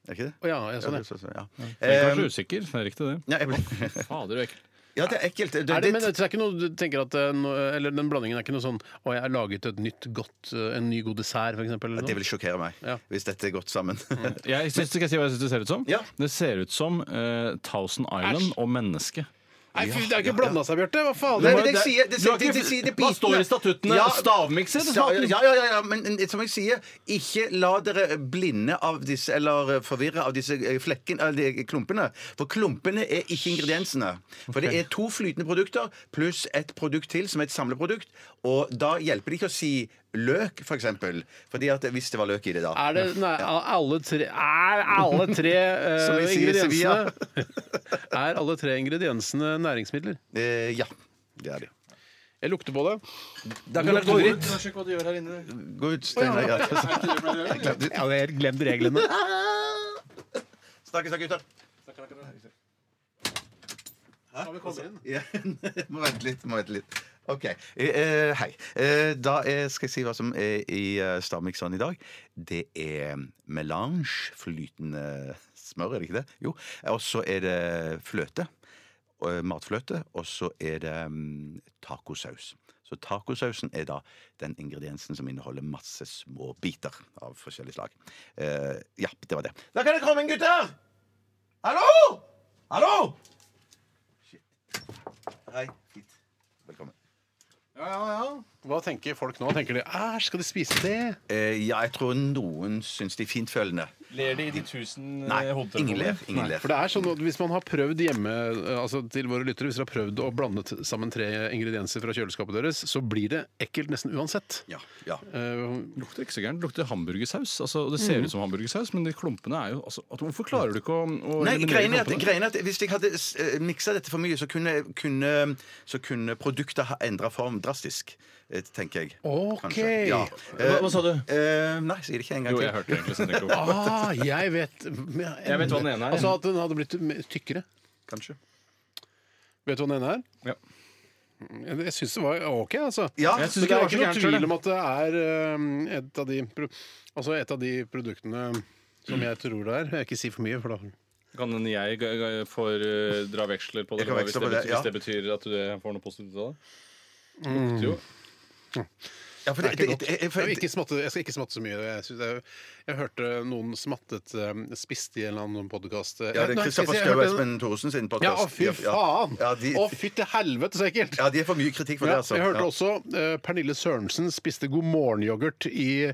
C: Er ikke det?
B: Å ja, ja, sånn, ja.
C: ja.
D: Jeg er
C: Eh,
D: kanskje usikker. Det er riktig, det.
C: ja, jeg ble-
D: Fader, du er ekkel.
C: ja, det er ekkelt. Det,
B: Er det,
C: det,
B: men det er ikke noe du tenker at eh, no- Eller den blandingen er ikke noe sånn Å, jeg har laget et nytt godt eh, En ny god dessert, for eksempel. eller
C: det
B: noe?
C: vil sjokkere meg
B: Ja. Mm.
C: hvis dette er gått sammen.
D: Jeg syns, skal jeg si hva jeg syns det ser ut som?
C: Ja.
D: Det ser ut som eh, Thousand Island og menneske.
B: Nei, fy, det er ikke blanda seg, Bjarte! Hva faen?
C: Nei,
B: Det
C: men
B: var-
C: det jeg sier- det-
D: Du har
C: det-
D: ikke-
C: det- det- det-
D: hva står i statuttene?
C: Ja,
D: Stavmikser, det
C: Ja,
D: står det.
C: ja, ja, ja, men det- som jeg sier, ikke la dere blinde av disse, eller forvirre av disse eh, flekken, eller de klumpene. For klumpene er ikke ingrediensene. For det er to flytende produkter pluss et produkt til som er et samleprodukt. Og da hjelper det ikke å si løk, for eksempel. Fordi at hvis det var løk i det, da.
B: Er det nei, alle tre Er alle tre eh,
C: Som vi sier i Sevilla.
B: ingrediensene Er alle tre ingrediensene næringsmidler?
C: Eh, ja. Det er det.
B: Jeg lukter på det.
C: Da kan dere gå ut. Gå ut, Steinar. Ja. Jeg glemte-
B: Ja, jeg glemte reglene.
C: Snakkes da, gutter. Ja, må vente litt. må vente litt OK. Eh, eh, hei. Eh, da eh, skal jeg si hva som er i eh, stavmikseren i dag. Det er melange, flytende smør, er det ikke det? Jo. Eh, Og så er det fløte. eh, matfløte, og så er det mm, tacosaus. Så tacosausen er da den ingrediensen som inneholder masse små biter av forskjellig slag. Eh, ja, det var det. Da kan dere komme inn, gutter! Hallo! Hallo! Shit. Hei. Hit. Velkommen.
B: Hva tenker folk nå? Tenker de æsj, skal de spise det?
C: Eh, ja, jeg tror noen syns de er fintfølende.
H: Ler de i de tusen
C: Nei,
H: eh,
C: ingen
H: hodetelefonene?
C: ler. Ingen ler.
B: Eh, For det er sånn at Hvis man har prøvd hjemme eh, altså til våre lyttere, hvis dere har prøvd å blande t- sammen tre ingredienser fra kjøleskapet deres, så blir det ekkelt nesten uansett.
C: Ja, ja.
B: Eh,
D: lukter ikke så gærent. Det lukter hamburgersaus. Altså, det
C: Mm.
D: ser ut som hamburgersaus, men de klumpene er jo altså, at, Hvorfor klarer du ikke å, å
C: Nei,
D: eliminere
C: greien er, at,
D: klumpene?
C: greien er at Hvis jeg hadde eh, miksa dette for mye, så kunne, kunne, så kunne produktet ha endra form drastisk. eh, Tenker jeg.
B: Ok.
C: Kanskje. Ja.
D: Hva- hva sa du?
C: Eh, nei, sier det ikke en gang
D: Jo,
C: til.
D: jeg hørte det egentlig. Så jeg tenker, «Åh,
B: Ah, jeg vet
D: Jeg vet hva den ene er.
B: Altså At den hadde blitt m- tykkere.
C: Kanskje.
B: Vet du hva den ene er?
D: Ja.
B: Jeg- Jeg syns det var OK, altså.
C: Ja,
D: Jeg
B: Men
D: syns
B: det
D: ikke
B: er ikke noe tvil
D: om
B: om at det er eh, et av de, pro- altså et av de produktene som jeg tror det er. Jeg vil ikke si for mye, for da
H: Kan hende jeg g- g- får eh, dra veksler på det,
C: Jeg
H: eller
C: kan
H: hva, hvis det,
C: veksle på det,
H: betyr,
C: ja.
H: hvis det betyr at du får noe positivt ut av det?
B: Mm.
H: Lukter jo.
C: ja, for
B: det er ikke godt.
C: det- jeg-
B: Jeg,
C: for-
B: vil ikke smatte, jeg skal ikke smatte så mye. Jeg, synes jeg, jeg hørte noen smattet eh, spiste i en eller annen podkast.
C: ja, det er Kristoffer Schou og Espen Thoresen sin podcast.
B: Ja, å fy
C: Ja,
B: faen!
C: Ja, de,
B: Å fy til helvete, så ekkelt!
C: ja, de er for mye kritikk for
B: Ja,
C: det, altså.
B: jeg hørte
C: Ja.
B: også eh, Pernille Sørensen spiste God morgen-yoghurt i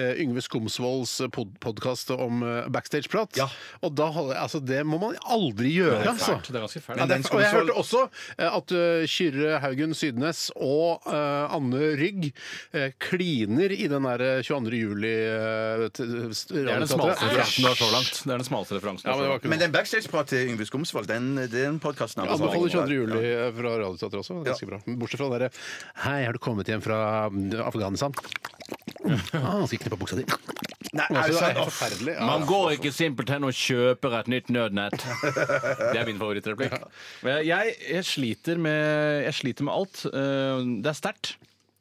B: eh, Yngve Skomsvolds pod podkast om eh, backstage-prat.
C: Ja.
B: Og da, hadde- altså, det må man aldri gjøre, altså.
H: Fælt, Det er ganske fælt.
B: Ja,
C: Men
B: det
C: den
B: er, f- og jeg
C: Skomsvold-
B: hørte også eh, at eh, Kyrre Haugen Sydnes og eh, Anne Rygg eh, kliner i den der 22. juli eh, t- st-
D: Det er den altså.
B: radioteatret.
D: smaleste referansen du har så langt. Det er den smaleste referansen
B: Ja,
D: du
B: men det var
D: har så langt.
C: Men
B: ikke noe.
C: den backstage-prat til Yngve Skomsvold, den, den podkasten
B: Jeg
D: Altså,
B: anbefaler 22. juli eh, fra Radioteatret også. Ganske bra. Bortsett fra den derre Hei, har du kommet hjem fra mm, Afghanistan? Ah, skal jeg knippe buksa di?
C: Nei,
B: Altså,
C: altså,
B: det er helt
C: off.
B: forferdelig. Ja.
D: Man går ikke simpelthen og kjøper et nytt nødnett. Det er min favorittreplikk. Men Jeg, jeg, sliter, med, jeg sliter med alt. Eh, Det er sterkt.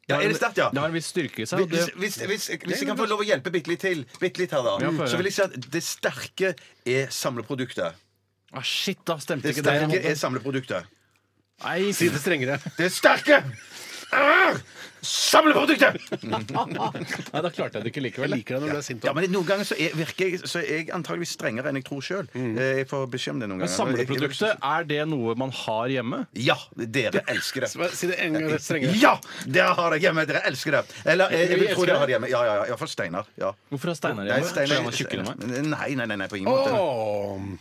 C: Ja, er det sterkt, ja?
D: Det har en viss styrke i seg. og
C: Hvis,
D: Det,
C: hvis, hvis, hvis jeg kan få lov å hjelpe bitte litt til, bitte litt her da,
D: få høre.
C: så vil jeg si at det sterke er samleproduktet.
D: ah, shit, da stemte
C: Det
D: ikke
C: sterke
D: det.
C: er samleproduktet.
D: Nei,
B: Si det strengere.
C: Det sterke er samleproduktet!
D: Nei, da klarte jeg det ikke
B: Jeg
D: likevel.
B: liker deg når du er sint.
C: Ja, men Noen ganger så er, virker jeg, så er jeg antagelig strengere enn jeg tror sjøl. Jeg får beskjed om det noen
D: Men
C: ganger.
D: samleproduktet, er det noe man har hjemme?
C: Ja, dere elsker det.
B: Si det en gang strengere.
C: Ja! Dere har det hjemme! Dere elsker det. Eller jeg, jeg vil tro
D: elsker
C: dere
D: det.
C: har det hjemme. Ja, ja, ja. Iallfall Steinar. Ja.
D: Hvorfor har Steinar
C: Nei,
D: hjemme? Fordi
C: Steinar
D: han er tjukkere enn meg.
C: Nei, nei, nei, nei, på ingen måte.
B: Åh.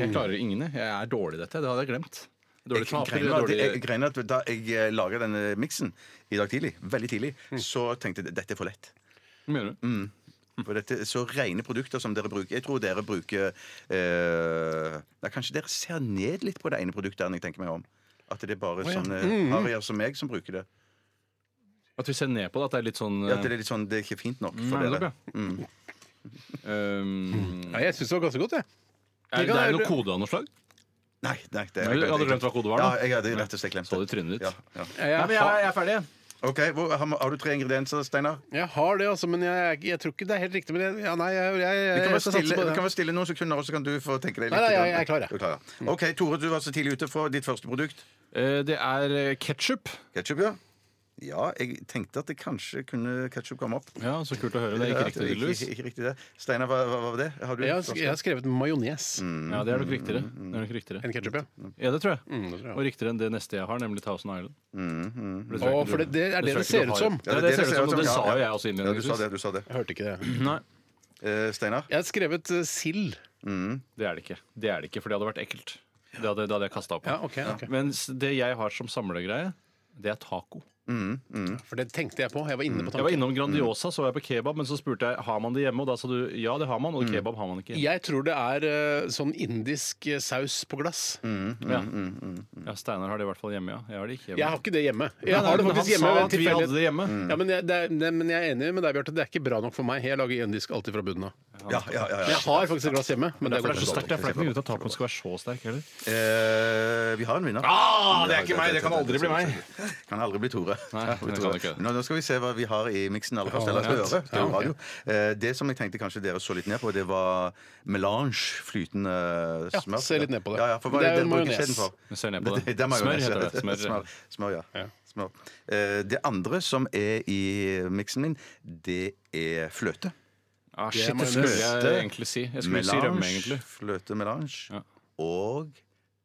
D: Jeg klarer ingen. jeg. Jeg er dårlig i dette. Det hadde jeg glemt. Dårlig
C: Jeg
D: taper.
C: greiner at-
D: Dårlig...
C: jeg greiner at Da jeg eh, laget denne miksen i dag tidlig, veldig tidlig,
D: Mm.
C: så tenkte jeg dette er for lett.
D: Mener du? Mm.
C: For dette er så rene produkter som dere bruker. Jeg tror dere bruker eh, nei, Kanskje dere ser ned litt på det ene produktet enn jeg tenker meg om. At det er bare sånne
D: Mm.
C: harrier som meg som bruker det.
D: At vi ser ned på det? At det er litt sånn
C: At det er litt sånn, det er ikke fint nok for
D: Nei, det Mm. er
C: dere.
D: bra. Um,
B: Nei, jeg syns det var ganske godt, jeg.
D: er det er noe kode av noe slag?
C: Nei, nei, det
D: Nei, du hadde glemt hva kodet var,
C: Ja,
D: da.
C: jeg hadde rett og slett glemt
D: Så det i trynet ditt.
C: Ja, ja.
D: Nei, men jeg, jeg er ferdig.
C: Ok, hvor, har, har du tre ingredienser, Steinar?
B: Jeg har det, altså, men jeg, er ikke- jeg tror ikke det er helt riktig. Men jeg, ja, nei, jeg, jeg, jeg,
C: Vi kan
B: jeg
C: være
B: skal satse
C: stille,
B: på
C: vi
B: det.
C: kan være stille noen sekunder, og så kan du få tenke deg litt.
B: Nei, nei,
C: grann.
B: jeg- jeg er klar, jeg.
C: Du klar, ja. Ok, Tore, du var så tidlig ute fra ditt første produkt.
D: Eh, Det er ketsjup.
C: Ketchup, ja. Ja, jeg tenkte at det kanskje kunne ketchup komme opp.
D: Ja, så kult å høre. Det er ikke riktig,
C: ikke,
D: tydeligvis.
C: ikke, ikke riktig det. Steinar, hva, hva var det? Har du
B: Jeg har, sk- jeg har skrevet majones
D: Ja, det er nok riktigere. Det er nok riktigere.
B: enn ketsjup, ja.
D: Ja, det tror jeg.
B: Mm, det tror jeg.
D: Og riktigere enn det neste jeg har, nemlig Thousand Island. Det tror jeg
B: Å,
D: ikke
B: for
D: du-
B: det, det er det
D: tror
B: det
D: jeg ikke
B: ser
D: du
B: ut
D: har.
B: som.
D: Mm, Ja, det, er det ser ut som. Det sa jo jeg også
C: Ja, du sa
D: innledningsvis.
C: det. du sa det
B: Jeg hørte ikke det.
D: Nei,
C: eh, Steinar?
B: Jeg har skrevet eh, sild.
D: det er det ikke. Det er det ikke, for det hadde vært ekkelt. Det hadde, det hadde jeg kasta opp.
B: Ja, ok, ok.
D: Mens det jeg har som samlegreie, det er taco.
B: For det tenkte jeg på. Jeg var inne på
D: Jeg var
B: tanken.
D: innom
B: Mm.
D: Grandiosa, så var jeg på kebab, men så spurte jeg har man det hjemme, og da sa du ja, det har man,
B: Mm.
D: og kebab har man ikke.
B: Jeg tror det er eh, sånn indisk eh, saus på glass.
D: Ja,
B: Mm,
D: ja Steinar har det i hvert fall hjemme, ja. Jeg har det ikke hjemme.
B: Jeg har ikke det hjemme. Jeg
D: Nei,
B: har det
D: men
B: faktisk hjemme. Mm.
D: Han
B: ved
D: sa at vi hadde
B: tilfeldighet.
D: det hjemme.
B: Ja, men, jeg, det er, det, men jeg er enig med deg, Bjarte. Det er ikke bra nok for meg. Jeg lager indisk alltid fra bunnen av.
C: Ja, ja, ja.
B: Men
C: ja.
B: jeg har faktisk et glass hjemme. Men det
D: Derfor
B: går
D: er det så
B: ikke.
D: sterkt. Det er flaut med at tacoen skal være så sterk heller.
C: Eh, vi har en vinner.
D: Ah, det er ikke meg, det kan aldri bli meg.
C: Kan aldri bli Tore. det.
D: Nei,
C: Ja, vi
D: det
C: tror
D: kan ikke det.
C: Nå, nå skal vi se hva vi har i miksen aller først. Eller høre. Det, er jo radio. Eh, det som jeg tenkte kanskje dere så litt ned på, det var melange, flytende eh,
B: Ja,
C: smør.
B: se litt ned på det.
C: Ja, ja, for hva
B: Det
C: er det
B: er jo
C: dere bruker
B: majones.
C: skjeden for?
D: Vi ser ned på det.
C: det, er
D: Smør
C: majones,
D: heter
C: ja.
D: det. Smør.
C: Smør, smør, ja.
B: Ja.
C: Smør. Eh, Det andre som er i miksen min, det er fløte.
D: Ah,
B: Det er
D: shit, det
B: majones.
D: skulle jeg egentlig si. Jeg skulle si rømme, egentlig.
C: fløte melange
D: Ja.
C: og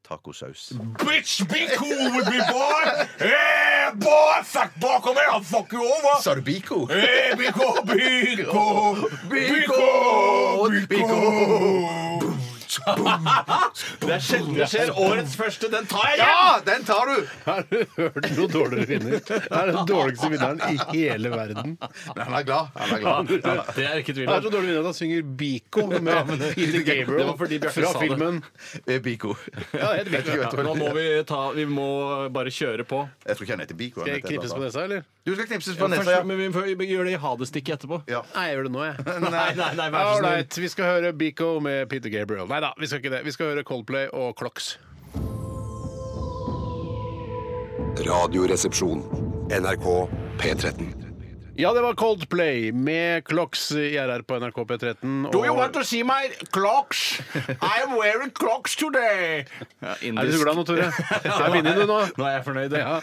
C: tacosaus.
H: Bitch, be cool with me, boy! Hey, boy, fuck, boy, kom her, I'll fuck you over!
C: Sa du biko?
H: Hey, Biko, Biko, Biko, Biko!
D: Det er sjelden det skjer. Årets første, den tar jeg
C: Ja, den tar du!
B: Har du hørt noe dårligere vinner? Det er den dårligste vinneren i hele verden.
C: Men han er glad. Han er glad.
D: Det er ikke tvil
B: Det er så
D: om.
B: dårlig vinner at han synger Biko med Peter
D: det
B: Gabriel
D: var fordi Bjarte
B: fra
D: sa det.
B: filmen.
C: Eh, Biko.
B: Ja, jeg vet ikke.
D: Ja, nå må vi, ta, vi må bare kjøre på.
C: Jeg tror ikke han heter Biko. han
B: Skal jeg
C: heter
B: knipses
C: et
B: på
C: eller annet.
B: nesa, eller?
C: Du skal knipses på
D: Ja,
C: nesa,
D: først,
C: ja.
D: men vi får vi gjør det i hadestikket etterpå.
C: Ja.
B: Nei, jeg gjør det nå, jeg.
D: Nei, nei, nei, vær så snill.
B: Ålreit, vi skal høre Biko med Peter Gabriel. Nei da, vi skal ikke det. Vi skal høre Coldplay og Clocks.
G: Radioresepsjon. NRK P13.
B: Ja, det var Coldplay med Clocks i RR på NRK P13. og-
H: to see my clocks? I am wearing clocks today!
B: Er du så glad nå, Tore? Der vinner du nå.
D: Nå er jeg fornøyd. Ja.
B: Ja.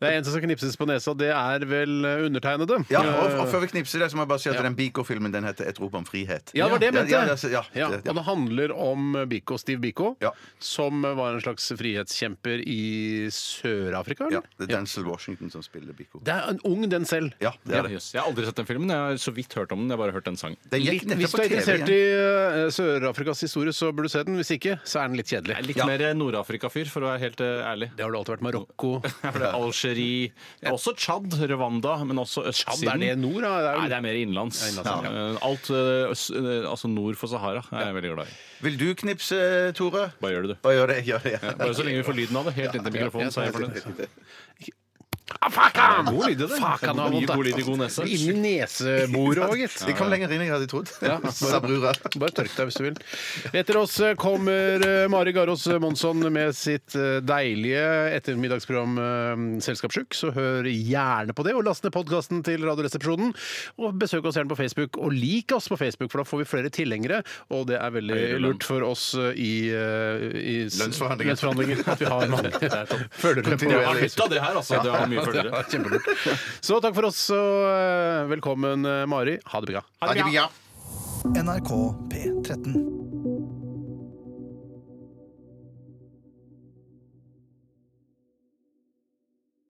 B: Det er en som skal knipses på nesa. Det er vel eh, undertegnede.
C: Ja, og, og før vi knipser det, så må jeg bare si at den Biko-filmen den heter 'Et rop om frihet'.
B: Ja, det var det jeg mente.
C: Ja, ja, det er- ja,
B: Ja,
C: det- ja.
B: Og det handler om Biko, Steve Biko,
C: Ja.
B: som var en slags frihetskjemper i Sør-Afrika,
C: Ja,
B: eller?
C: det er Denzel Washington som spiller Biko.
B: Det er en ung den selv.
C: Ja, det er det.
D: jøss. Jeg har aldri sett den filmen. Jeg har så vidt hørt om den. Jeg har bare hørt en sang.
C: Den gikk
B: Litt, hvis
C: nettopp
B: du
C: på
B: er
C: TV.
B: interessert
C: igjen.
B: i eh, Sør-Afrikas historie, så burde du se den. Hvis ikke, så er den litt kjedelig.
D: Jeg er litt mer Nord-Afrika-fyr, for å være helt eh, ærlig.
B: Det har du alltid vært. Marokko.
D: For det er Algerie, også Tsjad, Rwanda, men også
B: Chad, er
D: østsiden.
B: det nord, da? Det er jo-
D: Nei, det er mer innenlands.
B: Det er innenlands, ja.
D: Eh, Alt eh, øst, eh, altså nord for Sahara er jeg veldig glad i.
C: Vil du knipse, Tore?
D: Bare gjør det, du.
C: Bare gjør det. Gjør det.
D: Bare så lenge vi får lyden av det. Helt inntil mikrofonen, så er jeg fornøyd.
B: Ah, fuck han! God lyd i det. Fuck, han har
D: Mye
B: vondt, da.
D: god lyd i god nese.
B: Inni neseboret òg, gitt.
C: Det kom lenger inn enn jeg hadde trodd.
B: Ja,
C: Sa brura.
B: Bare tørk deg hvis du vil. Etter oss kommer eh, Mari Garås Monsson med sitt eh, deilige ettermiddagsprogram eh, Selskapssjuk, så hør gjerne på det. Og last ned podkasten til Radioresepsjonen. Og besøk oss gjerne på Facebook, og lik oss på Facebook, for da får vi flere tilhengere. Og det er veldig
D: Høyere lønn.
B: lurt for oss eh, i, eh, i s-
C: Lønnsforhandlinger.
B: lønnsforhandlinger at vi har mange følgere på
D: Jeg har nytta det her, altså. Det har mye
B: Ja, det
D: følgere.
B: er kjempelurt. Så takk for oss, og eh, velkommen, eh, Mari. Ha det bra.
C: Ha det bra.
E: NRK P13.